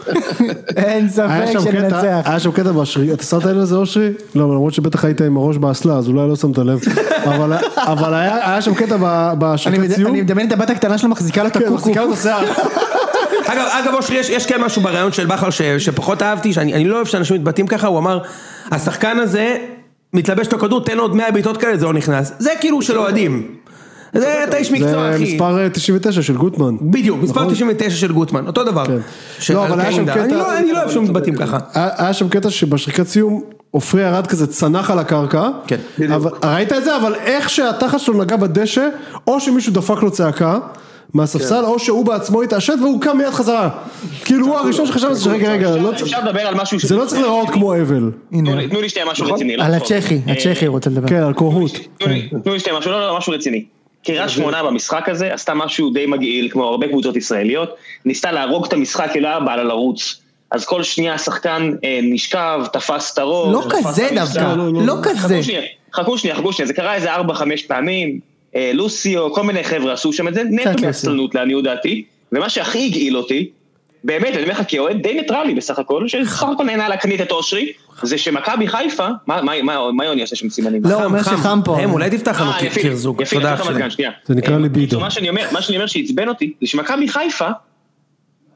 A: היה
E: אין ספק
A: שם קטע,
E: שננצח.
A: היה שם קטע באשרי, אתה שמת לב לזה אושרי? לא, אבל למרות שבטח היית עם הראש באסלה, אז אולי לא שמת לב. אבל- אבל היה היה שם קטע ב-
E: אני
A: בהשקת
E: מד-
A: סיום.
E: אני מדמיין את הבת הקטנה שלו מחזיקה לו את
A: כן,
E: הקוקו.
A: מחזיקה לו את השיער.
B: אגב, אגב אושרי, יש, יש כן משהו ברעיון של בכר ש- שפחות אהבתי, שאני אני לא אוהב שאנשים מתבטאים ככה, הוא אמר, השחקן הזה מתלבש לו כדור, תן לו עוד 100 בעיטות כאלה, זה לא נכנס. זה כאילו של אוהדים. זה אתה איש מקצוע,
A: זה
B: אחי.
A: מספר אה, 99 של גוטמן.
B: בדיוק, מספר
A: נכון.
B: 99 של גוטמן, אותו דבר.
A: כן.
B: של
A: לא, אבל היה שם
B: אלקרינדה.
A: קטע-
B: אני לא- אני לא אוהב שמתבטאים ככה.
A: היה היה שם קטע שבשריקת סיום עופרי ירד כזה צנח על הקרקע.
B: כן.
A: אבל- ראית את זה? אבל איך שהתחת שלו נגע בדשא, או שמישהו דפק לו צעקה. מהספסל, או שהוא בעצמו התעשת והוא קם מיד חזרה. כאילו הוא הראשון שחשב על זה שרגע, רגע, לא צריך-
G: אפשר לדבר על משהו... ש-
A: זה לא צריך נכון. להיראות כמו אבל.
E: הנה,
G: תנו לי- תנו לי שנייה משהו רציני. לא
E: על
G: צחוק.
E: הצ'כי,
G: אה,
E: הצ'כי רוצה לדבר.
A: כן, על קורהוט.
G: תנו לי-
A: כן.
G: תנו לי שנייה משהו, לא, לא, משהו רציני. קריית שמונה במשחק הזה עשתה משהו די מגעיל, כמו הרבה קבוצות ישראליות, ניסתה להרוג את המשחק, היא לא היה באה לה לרוץ. אז כל שנייה השחקן אה, נשכב, תפס את הראש.
E: לא
G: תפס את
E: כזה
G: המבצע.
E: דווקא, לא כזה.
G: חכו שנייה, חכו שנייה, חכו שנייה, זה קרה איזה ארבע, חמש פעמים, אה, לוסיו, כל מיני חבר'ה עשו שם את זה,
E: קצת
G: נטו
E: לוסיו.
G: מעצלנות לעניות דעתי, ומה שהכי הגעיל אותי, באמת, אני אומר לך, כאוהד די ניטרלי בסך הכל, שסך הכל נהנה להקנית את אושרי, זה שמכבי חיפה, מה- מה- מה מה יוני עושה שם סימנים?
E: לא, הוא אומר
B: חם,
E: שחם פה.
B: הם, אולי תפתח לנו
G: אה,
B: קיר-
G: יפית,
B: קירזוג.
G: יפית,
B: תודה
G: יפית
B: אח שלי.
G: רמת גן, שנייה.
A: זה נקרא
G: אה,
A: ליבידו.
G: בקיצור, מה שאני אומר, מה שאני אומר שעצבן אותי, זה שמכבי חיפה,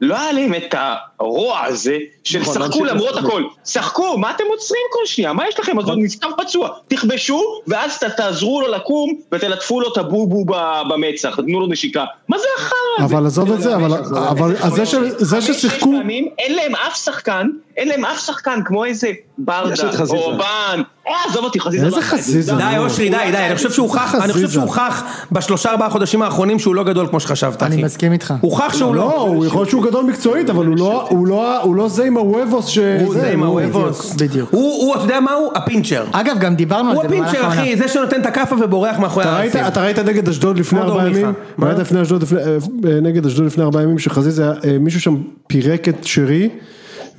G: לא היה להם את הרוע הזה של
A: נכון,
G: שחקו למרות הכל. שחקו, מה אתם עוצרים כל שנייה? מה יש לכם? אז
A: נכון.
G: הוא נסתם פצוע. תכבשו, ואז ת- תעזרו לו לקום, ותלטפו לו את הבובו ב- במצח, תנו לו נשיקה. מה זה החרא הזה?
A: אבל עזוב את זה, אבל- אבל אז זה של- זה
G: חמש, שש
A: ששיחקו...
G: פעמים, אין להם אף שחקן, אין להם אף שחקן כמו איזה
C: יש את
G: ברדה,
C: חזיזה.
G: או בן. אה, עזוב אותי, חזיזה.
A: איזה
G: לא עשה את זה.
A: חזיזה?
B: די אושרי, די, די, אני חושב שהוא הוכח, אני חושב שהוא הוכח בשלושה ארבעה חודשים האחרונים שהוא לא גדול כמו שחשבת, אחי.
E: אני מסכים איתך.
B: הוכח שהוא
A: לא,
B: לא.
A: הוא יכול להיות שהוא גדול מקצועית, אבל הוא לא- הוא לא- הוא לא זה עם הוובוס ש...
B: הוא זה עם
A: הוא- אה,
B: הוובוס.
E: בדיוק.
B: הוא, הוא, אתה יודע מה הוא? הפינצ'ר.
E: אגב, גם דיברנו על
B: הוא
E: זה במהלך
B: הפינצ'ר,
E: העונה.
B: אחי, זה שנותן את הכאפה ובורח מאחורי
A: אתה ראית-
B: הארצים.
A: אתה ראית נגד אשדוד לפני
B: כמו דור
A: ארבעה
B: מיכה.
A: ימים?
B: מה?
A: ראית לפני אשדוד לפני- אה, אה, נגד אשדוד לפני ארבעה ימים שחזיזה, אה, מישהו שם פירק את שרי,
B: כן,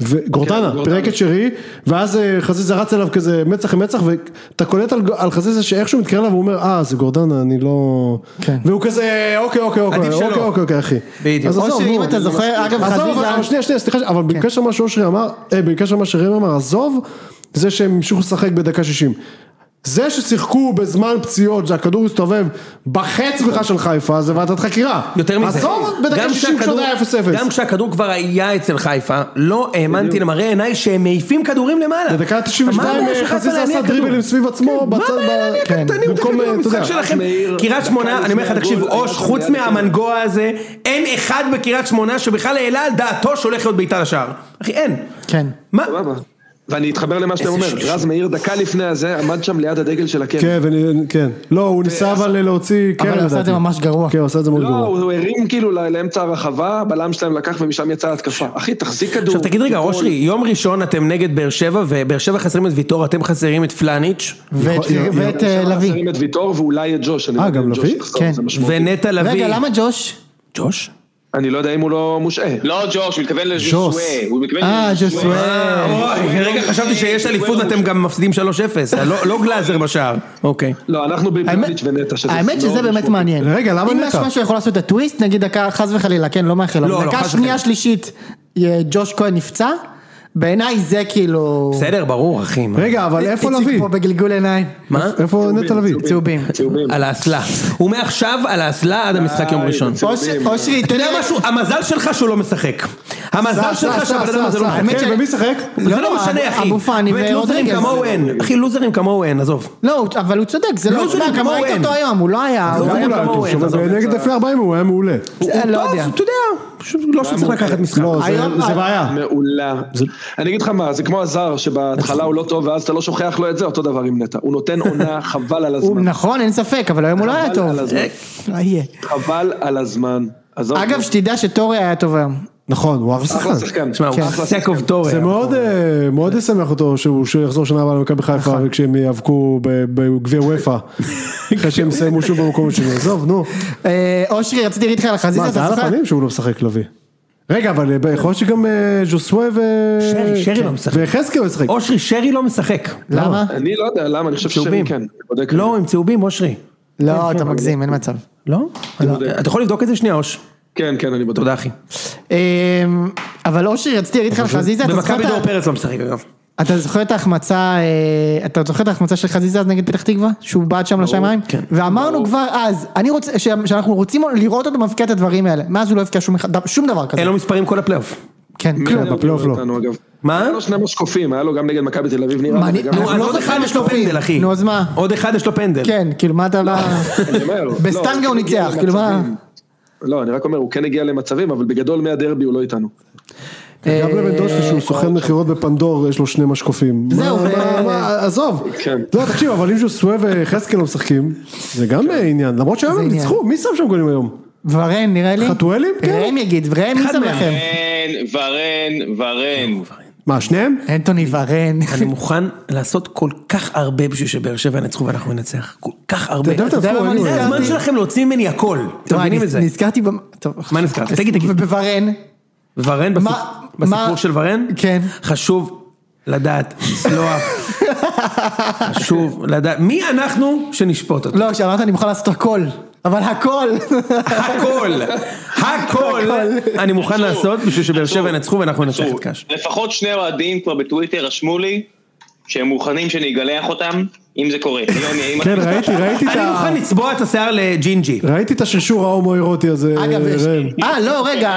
A: ו- גורדנה, פירק את שרי, ואז אה, חזיזה רץ אליו כזה מצח עם מצח, ואתה קולט על- על חזיזה שאיכשהו מתקרב אליו, הוא אומר, אה, זה גורדנה, אני לא...
E: כן.
A: והוא כזה, אוקיי, אוקיי, אוקיי,
B: עדיף שלא.
A: אוקיי, אוקיי, אוקיי, אחי.
B: בדיוק.
A: אז עזוב,
E: אושרי,
A: נו.
E: אם אתה זוכר, אגב,
A: עזוב, אבל- אבל
E: חזיזה... כן.
A: שנייה, שנייה, סליחה, אבל בקשר למה שאושרי אמר, אה, בקשר למה שראם אמר, עזוב, זה שהם המשיכו לשחק בדקה 60. זה ששיחקו בזמן פציעות, שהכדור הסתובב בחץ בכלל של חיפה, זה ועדת חקירה.
B: יותר מזה,
A: עזוב, בדקה
B: גם
A: 60 כשעוד
B: כשהכדור-
A: היה 0-0.
B: גם כשהכדור כבר היה אצל חיפה, לא האמנתי למראה עיניי שהם מעיפים כדורים למעלה.
A: בדקה
B: מה
A: 92
B: הבעיה שחיפה
A: חזיזה
B: להניע
A: עשה
B: כדור?
A: דריבלים סביב עצמו,
B: מה
A: בצד...
B: הבעיה
A: ב-
B: להניע
A: כן.
B: קטנים
A: במקום,
B: תקנו
A: אתה יודע,
B: במשחק שלכם?
C: מאיר,
B: קריית
C: דקה
B: שמונה, אני אומר לך,
C: לפני
B: תקשיב,
C: הגול,
B: אוש,
C: היה שם
B: חוץ
C: ליד
B: מהמנגוע הזה, אין אחד בקריית שמונה שבכלל העלה על דעתו שהולך להיות בעיטה לשער. אחי, אין.
E: כן.
B: מה?
C: סבבה. ואני אתחבר למה שאתה
B: איזה
C: אומר,
B: שטויות.
C: רז מאיר דקה לפני הזה עמד שם ליד הדגל של הקרן.
A: כן, ונ- כן. לא, הוא
B: אה,
A: ניסה אבל להוציא קרן.
E: אבל הוא עשה את
A: לדעתי.
E: זה ממש גרוע.
A: כן, הוא עשה את זה מאוד
C: לא,
A: גרוע.
C: הוא הרים כאילו ל- לאמצע הרחבה, בלם שלהם לקח ומשם יצאה התקפה. אחי, תחזיק כדור.
B: עכשיו תגיד רגע,
C: תיפול.
B: אושרי, יום ראשון אתם נגד באר שבע, ובאר שבע חסרים את ויטור, אתם חסרים את פלניץ',
E: ואת-
A: יכול-
E: ואת אה,
C: עכשיו
E: לביא.
C: חסרים את ויטור ואולי את ג'וש. אני
A: אה,
C: לא יודע
A: גם
C: אם ג'וש
A: לביא?
C: יחזור,
E: כן.
C: זה משמעותי.
B: ונטע לביא.
E: רגע, למה ג'וש?
B: ג'וש?
C: אני לא יודע אם הוא לא מושעה.
G: לא ג'וש, הוא מתכוון
A: ז'וס.
G: לז'וסווה. הוא מתכוון
E: אה,
G: לז'וסווה.
E: ז'וסווה.
B: אוי, רגע, חשבתי שיש אליפות ואתם גם מפסידים 3-0, לא- לא גלאזר בשער. אוקיי.
C: לא, אנחנו בפלניץ' ונטע, שזה לא
E: האמת שזה
C: מאוד
E: באמת
C: משמעותי.
E: מעניין.
A: רגע, למה
E: אם
A: נטע?
E: יש משהו יכול לעשות את הטוויסט, נגיד דקה, חס וחלילה, כן, לא מאחל,
B: לא,
E: אבל
B: לא, חס
E: דקה
B: וחלילה.
E: שנייה שלישית, אה, ג'וש כהן נפצע, בעיניי זה כאילו...
B: בסדר, ברור, אחי. מה?
A: רגע, אבל איפה
E: איציק
A: לביא?
E: פה בגלגול עיניים.
B: מה?
A: איפה נטע לביא?
E: צהובים.
C: צהובים.
B: על האסלה. הוא מעכשיו על האסלה עד המשחק יום ראשון. אתה
E: אוש- אושרי, תן לי...
B: יודע משהו? המזל שלך שהוא לא משחק. המזל
A: סע,
B: שלך
A: סע,
B: שהבן
A: סע,
B: אדם הזה
A: סע.
B: לא משחק.
E: האמת
A: כן,
E: ש-
A: ומי ישחק?
B: זה
E: לא,
B: לא משנה,
E: אבו-
B: אחי.
E: אבו פאני
B: ולוזרים
E: ורודריגז.
B: כמוהו אין. אחי, לוזרים כמוהו אין, עזוב.
E: לא, הוא- אבל הוא צודק, זה לא...
B: לא, זה
E: שמע,
B: לא
E: גם
B: כמו
E: ראית
B: אוהן.
E: אותו היום, הוא לא היה... הוא
B: לא,
E: לא היה-
B: גם כמוהו, אין, עזוב.
A: כאילו, נגד לפני 40 הוא היה מעולה.
E: זה- לא יודע.
B: אתה יודע, פשוט לא שצריך לקחת משחק.
A: לא, זה-
E: היום-
A: זה בעיה.
C: מעולה. אני אגיד לך מה, זה כמו הזר שבהתחלה הוא לא טוב ואז אתה לא שוכח לו את זה, אותו דבר עם נטע. הוא נותן עונה חבל על
E: הוא-
C: הזמן.
E: נכון, אין ספק, אבל היום הוא לא היה
C: חבל
E: טוב.
C: על הזמן.
E: לא יהיה.
C: חבל על הזמן. עזוב.
E: אגב, שתדע שטורי היה טוב היום.
A: נכון, הוא אחלה
C: אחלה
A: שחקן.
C: שחקן.
B: תשמע, הוא
E: כן.
B: סקוב טורר.
A: זה מאוד אה, מאוד ישמח אותו שהוא שהוא יחזור שנה הבאה למכבי חיפה כשהם יאבקו ב- בגביע וופא. אחרי שהם יסיימו שוב במקום השני. עזוב, נו.
E: אה, אושרי, רציתי להגיד לך על החזיזה,
A: מה, זה
E: אתה
A: על
E: זוכר?
A: הפנים שהוא לא משחק לביא. רגע, אבל אה, יכול להיות שגם אה, ז'וסווה ו...
B: שרי, שרי
A: כן.
B: לא משחק.
A: ויחזקאל משחק.
B: אושרי, שרי לא משחק.
E: למה?
C: אני לא יודע למה, אני חושב שרי
B: צהובים.
C: כן. אני בודק.
B: לא, עם צהובים, אושרי.
E: לא, אתה מגזים, אין מצב.
B: לא? אתה יכול לבדוק את זה שנייה, אוש.
C: כן, כן, אני בודק.
B: תודה, אחי.
E: אמ, אבל אושרי, רציתי להגיד לך על חזיזה, אתה זוכר
B: במכבי
E: את ה-
B: דור פרץ לא משחק, אגב.
E: אתה זוכר את ההחמצה, אה, אתה זוכר את ההחמצה של חזיזה אז נגד פתח תקווה? שהוא בעט שם לשמיים?
B: כן.
E: ואמרנו כבר אז, אני רוצה, ש- שאנחנו רוצים לראות אותו מבקיע את הדברים האלה. מאז הוא לא הבקיע שום אחד- שום דבר כזה.
B: אין לו מספרים כל הפלייאוף.
E: כן,
C: מי
E: כלום.
C: היה
A: בפלייאוף לא.
C: אותנו, אגב.
B: מה?
C: היה לו שני משקופים, היה לו גם נגד מכבי תל אביב נראה. לי,
E: מה, אני-
C: וגם-
E: נו,
B: נו, אז
E: לא
B: עוד
E: זוכרים
B: אחד יש לו
E: משקופים.
B: פנדל, אחי.
E: נו, אז מה?
B: עוד אחד יש לו פנדל.
E: כן, כאילו מה אתה... בא-
C: אני אומר,
E: בסטנגה
C: לא,
E: הוא
C: הגיע
E: ניצח, כאילו, מה-
C: למצבים. לא, אני רק אומר, הוא כן הגיע למצבים, אבל בגדול מהדרבי הוא לא איתנו.
A: גם לבן דוד שלי שהוא סוכן מכירות בפנדור יש לו שני משקופים.
E: זהו,
A: מה-
E: ו-
A: מה- מה- עזוב.
C: כן.
A: לא תקשיב אבל אם ז'וסווה וחזקאל לא משחקים זה גם אה, עניין למרות שהיום
E: זה
A: הם
E: עניין.
A: ניצחו מי שם שם גולים היום?
E: ורן, נראה לי.
A: חתואלים? כן.
E: ראם יגיד, ראם, מי
B: אחד
E: שם
B: מהם.
E: לכם?
G: ורן, ורן, ורן.
A: מה שניהם?
E: אנטוני ורן.
B: אני מוכן לעשות כל כך הרבה בשביל שבאר שבע ינצחו ואנחנו ננצח. כל כך הרבה.
A: אתה יודע,
E: אתה יודע
A: תעזבו,
E: למה
A: אני-
E: אני
B: זה הזמן
E: נזכרתי?
B: שלכם להוציא ממני הכל. אתם
E: וואי,
B: מבינים את זה?
E: לא, נזכרתי במ... טוב,
B: מה נזכרת? תגיד, תגיד.
E: בוורן.
B: ורן, בסיפ-
E: מה- מה-
B: בסיפור של ורן?
E: כן.
B: חשוב לדעת, לסלוח. חשוב לדעת. מי אנחנו שנשפוט אותו?
E: לא, כשאמרת אני מוכן לעשות הכל. אבל הכל.
B: הכל, הכל, אני מוכן לעשות בשביל שבאר שבע ינצחו ואנחנו ננצח את קאש.
G: לפחות שני אוהדים כבר בטוויטר רשמו לי שהם מוכנים שאני אגלח אותם, אם זה קורה. יוני, האם
A: כן
G: אתה-
A: ראיתי ראיתי את
B: אני
A: ה...
B: מוכן לצבוע את השיער לג'ינג'י.
A: ראיתי את השרשור ההומואירוטי הזה.
E: אגב, יש...
A: ראם.
E: אה, לא, רגע.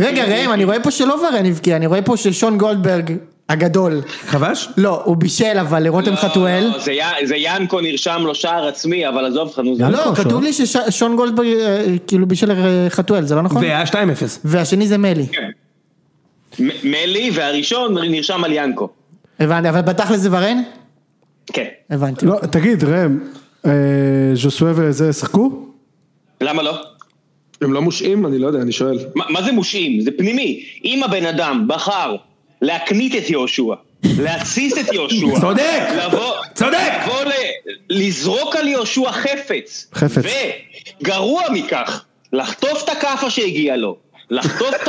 E: רגע, ראם, אני רואה פה שלא ורן הבקיע, אני רואה פה ששון גולדברג הגדול.
B: חבש?
E: לא, הוא בישל, אבל לרותם
G: לא,
E: חתואל.
G: לא, זה י- זה ינקו נרשם לו שער עצמי, אבל עזוב אותך, נו זה...
A: ינקו?
E: לא,
A: שון.
E: כתוב לי ששון גולדברג אה, כאילו בישל אה, חתואל, זה לא נכון?
B: והיה 2-0.
E: והשני זה מלי.
G: מ- מלי, והראשון נרשם על ינקו.
E: הבנתי, אבל בתכל'ס זה ורן?
G: כן.
E: הבנתי.
A: לא, תגיד ראם, אה, ז'וסווה וזה שחקו?
G: למה לא?
C: הם לא מושעים? אני לא יודע, אני שואל.
G: מה מה זה מושעים? זה פנימי. אם הבן אדם בחר להקנית את יהושע, להתסיס את יהושע,
B: צודק!
G: לבוא,
B: צודק!
G: לבוא ל, לזרוק על יהושע חפץ,
A: חפץ.
G: וגרוע מכך, לחטוף את הכאפה שהגיעה לו, לחטוף את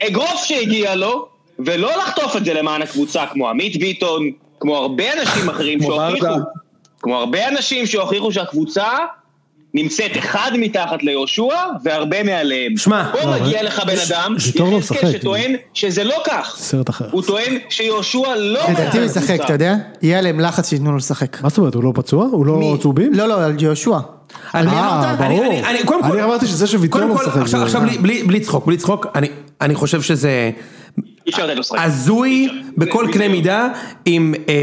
G: האגרוף שהגיע לו, ולא לחטוף את זה למען הקבוצה, כמו עמית ביטון, כמו הרבה אנשים אחרים
C: כמו
G: שהוכיחו,
C: ברדה.
G: כמו הרבה אנשים שהוכיחו שהקבוצה נמצאת אחד מתחת ליהושע והרבה מעליהם.
B: שמע,
G: פה
A: לא,
G: מגיע
A: אבל-
G: לך בן
A: ש-
G: אדם,
A: ויטור לא
G: יחזקאל
A: משחק.
G: שטוען שזה לא כך.
A: סרט אחר.
G: הוא טוען שיהושע לא...
E: לדעתי אה, הוא ישחק, אתה יודע? יהיה עליהם לחץ שייתנו לו לשחק.
A: מה זאת אומרת, הוא לא פצוע? הוא לא
E: מי?
A: צהובים?
E: לא, לא, על יהושע. על מי
A: אה,
E: אמרת?
B: אני-
A: ברור.
B: אני- אני- קודם כל-
A: אני אמרתי שזה שוויתור
B: קודם
A: לא
B: כל,
A: משחק
B: עכשיו-
A: זה-
B: עכשיו בלי- בלי בלי צחוק, בלי צחוק, אני- אני חושב שזה
G: אי אפשר לתת לו לשחק.
B: הזוי בכל קנה מידה עם, אה,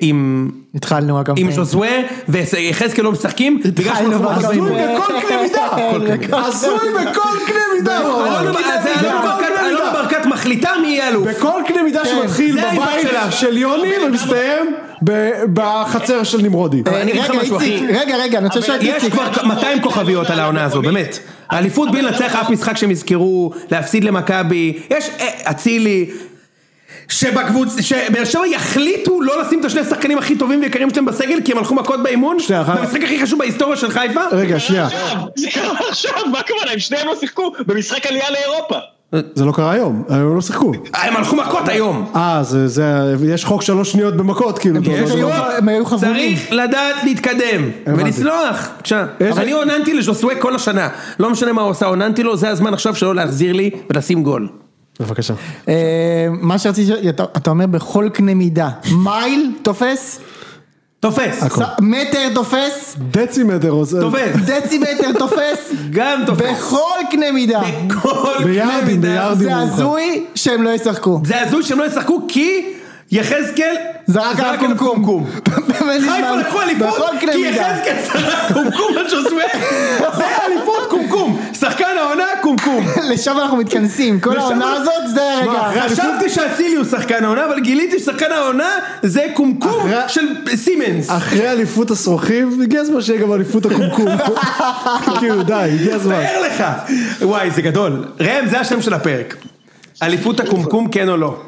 B: עם
E: התחלנו אגב. אה,
B: עם ז'וזווה ויחזקאל לא משחקים, בגלל
E: התחלנו
B: שאנחנו
E: בקמפיין.
B: הזויים בכל קנה מידה. לא
E: כן, בכל-
A: הזוי בכל קנה מידה!
B: אלונה
A: בכל
B: ברקת-
A: קנה
B: אלונה ברקת-
A: מידה.
B: אלונה ברקת מחליטה מי יהיה אלוף.
A: בכל קנה מידה שמתחיל
B: זה העניין
A: בבית
B: שלה.
A: של יוני ומסתיים ב- בחצר של נמרודי.
E: אה,
B: אני אגיד לך
E: רגע,
B: משהו,
E: איציק,
B: אחי.
E: רגע, רגע, אני רוצה לשאול את
B: יש
E: איציק.
B: כבר 200 כוכביות על העונה הזו, באמת. האליפות בלי לנצח אף משחק שהם יזכרו, להפסיד למכבי, יש אה, אצילי. שבקבוצ... שבאר שבע יחליטו לא לשים את השני השחקנים הכי טובים ויקרים שלהם בסגל כי הם הלכו מכות באימון?
A: שנייה, אחר-
B: במשחק הכי חשוב בהיסטוריה של חיפה?
A: רגע, שנייה,
G: עכשיו, זה קרה עכשיו, מה הכוונה? הם שניהם לא שיחקו במשחק עלייה לאירופה.
A: זה לא קרה היום, היום הם לא שיחקו.
B: הם הלכו מכות היום.
A: אה, זה, זה, יש חוק שלוש שניות במכות, כאילו.
E: הם פשוט היו- הם היו חבורים.
B: צריך לדעת להתקדם
A: הבנתי.
B: ולסלוח. עכשיו, אני עוננתי לג'וסווה כל השנה. לא משנה מה הוא עשה, עוננתי לו, זה הזמן עכשיו שלו להחזיר לי ולשים גול.
A: בבקשה.
E: אה, מה שרציתי, לשאול, אתה אתה אומר בכל קנה מידה, מייל תופס,
B: תופס,
A: הכל.
E: ס- מטר תופס,
A: דצימטר עוזר.
B: תופס,
E: דצימטר תופס,
B: גם תופס.
E: בכל קנה מידה.
B: כל קנה
A: ביארדים,
B: מידה.
A: ביארדים.
E: זה הזוי שהם לא ישחקו.
B: זה הזוי שהם לא ישחקו כי יחזקאל
E: זרק על הקומקום. באמת
B: חיפה
E: נשמע-
B: לקחו אליפות
E: בכל קנה
B: כי
E: מידה.
B: יחזקאל זרק קומקום על שוסווה. זה אליפות קומקום. שחקן העונה קומקום.
E: לשם אנחנו מתכנסים, כל
B: לשם-
E: העונה הזאת זה הרגע.
B: חשבתי שאצילי הוא שחקן העונה אבל גיליתי ששחקן העונה זה קומקום
A: אחרי-
B: של סימנס.
A: אחרי אליפות השרוכים, הגיע הזמן שיהיה גם אליפות הקומקום. כאילו, די, הגיע הזמן.
B: תאר לך. וואי זה גדול. ראם זה השם של הפרק. אליפות הקומקום כן או לא.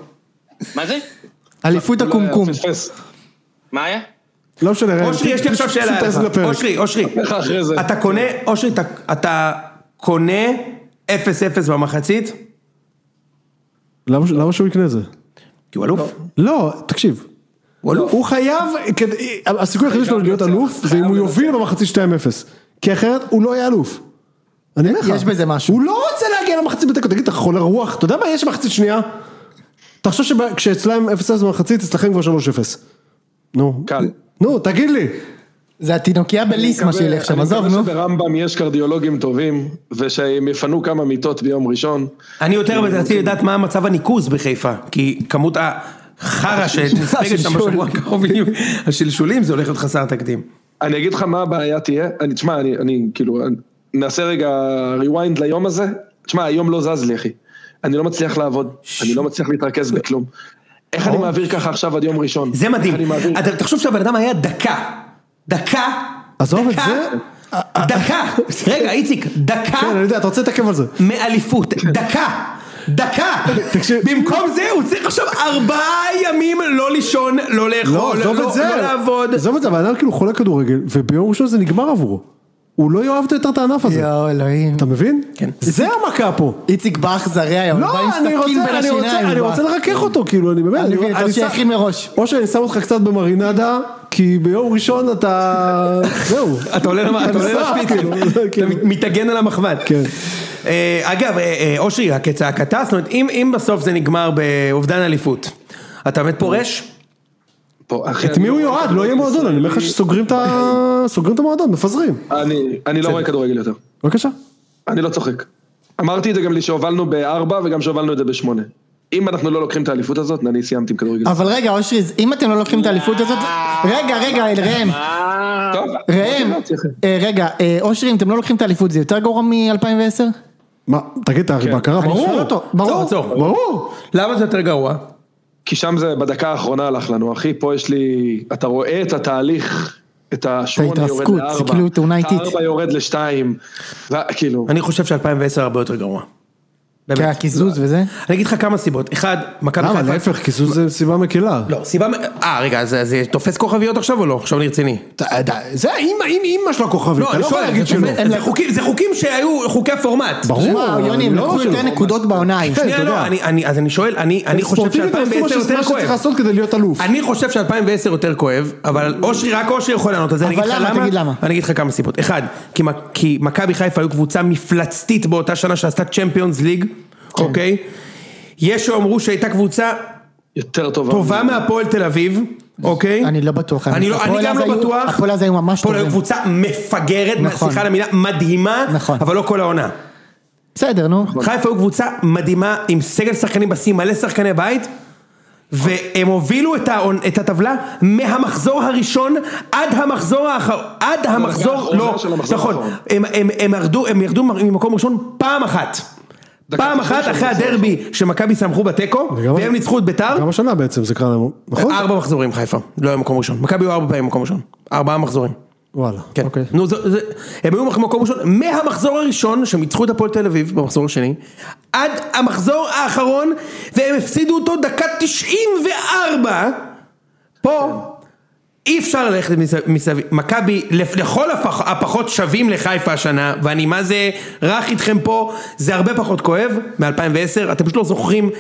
G: מה זה?
E: אליפות הקומקום.
C: אה, פספס.
G: מה היה?
A: לא משנה, ראם.
B: אושרי, יש לי עכשיו שאלה
A: פשוט
B: אליך.
A: תעשה לפרק.
B: אושרי, אושרי.
C: לך אחרי זה.
B: אתה קונה, אושרי, אתה- אתה קונה 0-0 במחצית?
A: למה ש- למה שהוא יקנה את זה?
B: כי הוא אלוף.
A: לא, תקשיב.
B: הוא אלוף.
A: הוא חייב, כדי- הסיכוי היחיד שלו להיות אלוף, זה אם הוא יוביל במחצית 2-0. כי אחרת הוא לא יהיה אלוף. אני אומר לך.
E: יש בזה משהו.
A: הוא לא רוצה להגיע למחצית בתיקו, תגיד, אתה חולה רוח, אתה יודע מה יש במחצית שנייה? אתה חושב שכשאצלם 0-0 במחצית, אצלכם כבר 3-0. נו.
C: קל.
A: נו, תגיד
B: אה.
A: לי.
E: זה התינוקיה בליס מה שילך שם, עזוב
C: אני
E: נו.
C: מקווה שברמב"ם יש קרדיולוגים טובים, ושהם יפנו כמה מיטות ביום ראשון.
B: אני
C: לא,
B: יותר רציתי לדעת מה המצב הניקוז בחיפה, כי כמות החרא שנספגת שם בשבוע הקרוב, בדיוק. השלשולים זה הולך להיות חסר תקדים.
C: אני אגיד לך מה הבעיה תהיה, אני, תשמע, אני, אני כאילו, אני- נעשה רגע rewind ליום הזה, תשמע, היום לא זז לי, אחי. אני לא מצליח לעבוד, אני לא מצליח להתרכז בכלום. איך אני מעביר ככה עכשיו עד יום ראשון?
B: זה מדהים.
C: איך אני מעביר?
B: אתה תחשוב שהבן אדם היה דקה. דקה.
A: עזוב את
B: דקה,
A: זה.
B: דקה. רגע, איציק, דקה
A: כן, אני יודע, אתה רוצה להתעכב על זה.
B: מאליפות. דקה. דקה.
A: תקשיב-
B: במקום זה הוא צריך עכשיו ארבעה ימים לא לישון, לא
A: לא,
B: לאכול,
A: עזוב
B: לא
A: את זה.
B: לא לעבוד.
A: עזוב את זה, הבן אדם כאילו חולה כדורגל, וביום ראשון זה נגמר עבורו. הוא לא יאהב יותר את הענף הזה.
E: יואו אלוהים.
A: אתה מבין?
B: כן.
A: זה המכה פה.
E: איציק בכר היה, הוא בא עם
A: לא, אני
E: סכין בין
A: רוצה, אני רוצה,
E: השיניים.
A: אני
E: הוא
A: רוצה
E: בא.
A: לרכך אותו, כאילו, אני באמת,
E: אני מבין,
A: שם-
E: אתה שיכין מראש.
A: אושר, אני שם אותך קצת במרינדה, כי ביום ראשון אתה, זהו.
B: אתה עולה למ- אתה עולה
A: נשרף,
B: לשפיצים,
A: כאילו,
B: אתה
A: כאילו.
B: מת- מתאגן על המחמד.
A: כן.
B: אה, אגב, אה, אה, אושרי, רק כצעקתה, זאת אומרת, אם אם בסוף זה נגמר באובדן אליפות, אתה באמת פורש?
C: פה, אחי,
A: את
C: אני
A: מי הוא
C: לא רואה
A: יועד? לא יהיה
C: כדורגל
A: מועדון, אני אומר לך שסוגרים את ה- סוגרים את המועדון, מפזרים.
C: ישראלי. אני- אני לא רואה כדורגל יותר.
A: בבקשה.
C: אני לא צוחק. אמרתי את זה גם שהובלנו בארבע וגם שהובלנו את זה בשמונה. אם אנחנו לא לוקחים את האליפות הזאת, אני סיימתי עם כדורגל.
E: אבל רגע אושרי, אם אתם לא לוקחים את האליפות הזאת, רגע רגע ראם,
C: טוב,
E: ראם,
C: לא,
E: אה, רגע אה, אושרי אם אתם לא לוקחים את האליפות זה יותר גרוע מ-2010?
A: מה, תגיד, אתה בקרה,
E: אני
A: ברור.
E: שואל אותו, ברור.
B: עצור, עצור.
A: ברור.
B: למה זה יותר גרוע?
C: כי שם זה בדקה האחרונה הלך לנו, אחי, פה יש לי, אתה רואה את התהליך, את השמונה יורד
E: ההתרסקות,
C: לארבע,
E: זה כאילו תאונה איטית.
C: הארבע יורד לשתיים, כאילו, וכאילו,
B: אני חושב ש-2010 הרבה יותר גרוע. באמת.
E: כי
B: אה,
E: הקיזוז וזה?
B: אני אגיד לך כמה סיבות. אחד, מכבי
A: כן, למה, להפך, קיזוז זה סיבה מקלה.
B: לא, סיבה... מ- אה, רגע, אז אז זה תופס כוכביות עכשיו או לא? עכשיו אני רציני.
A: אתה- אתה- זה האמא, אמא, אמא שלו כוכבית,
B: לא,
A: אתה
B: אני
A: לא יכול
B: שואל,
A: להגיד
B: זה
A: שלא.
B: תופס- זה חוקים- זה חוקים שהיו חוקי הפורמט.
A: ברור.
E: שמע, יוני הם
A: אני לא
E: לקחו
A: אומר
E: יותר
A: שלא.
E: נקודות בעונה.
A: כן,
B: שנייה,
A: אתה
B: לא,
A: יודע.
B: אני- אני- אז אני שואל, אני אני חושב
A: ספורטיבית הם עשו
B: ש-2010
A: מה ש-
B: יותר
A: מה שצריך
B: כואב.
A: לעשות כדי להיות אלוף.
B: אני חושב ש-2010 יותר כואב, אבל אושרי, רק אושרי יכול לענות על זה, אני
E: אבל
B: אגיד לך
E: למה?
B: למה.
E: תגיד למה.
B: אני אגיד לך כמה סיבות. אחד, כי מ- כי מכבי חיפה היו קבוצה מפלצתית באותה שנה שעשתה צ'מפיונס ליג,
A: כן.
B: אוקיי? יש שאמרו שהייתה קבוצה
C: יותר טובה.
B: טובה מהפועל תל אביב, אוקיי?
E: אני לא בטוח.
B: אני, לא, אני
E: הפועל
B: גם
E: אז
B: לא
E: היו-
B: בטוח.
E: הפועל אז היו ממש
B: הפועל היו
E: טובים.
B: קבוצה מפגרת,
E: נכון.
B: סליחה על המילה, מדהימה,
E: נכון.
B: אבל לא כל העונה.
E: בסדר נו.
C: נכון.
B: חיפה היו קבוצה מדהימה עם סגל שחקנים בשיא, מלא שחקני בית. והם הובילו את, העונ- את הטבלה מהמחזור הראשון עד המחזור האחרון, עד המחזור,
C: האחרונה
B: לא,
C: של המחזור
B: נכון,
C: האחרון.
B: הם, הם, הם, ירדו, הם ירדו ממקום ראשון פעם אחת,
C: דקה
B: פעם
C: תשעים
B: אחת
C: של
B: אחרי
C: המחזור
B: הדרבי שמכבי סמכו בתיקו,
A: וגם-
B: והם ניצחו את ביתר,
A: גם השנה בעצם זה קרה לנו, נכון?
B: אה, ארבע מחזורים חיפה, לא היה מקום ראשון, מכבי היו ארבע פעמים מקום ראשון, ארבעה מחזורים,
A: וואלה,
B: כן.
A: אוקיי.
B: נו, זה, זה, הם היו במקום ראשון, מהמחזור הראשון, שהם ניצחו את הפועל תל אביב במחזור השני, עד המחזור האחרון, והם הפסידו אותו דקה 94. פה אי אפשר ללכת מסב- מסביב. מכבי לפ- לכל הפח, הפחות שווים לחיפה השנה, ואני מה זה רך איתכם פה, זה הרבה פחות כואב מ-2010, אתם פשוט לא זוכרים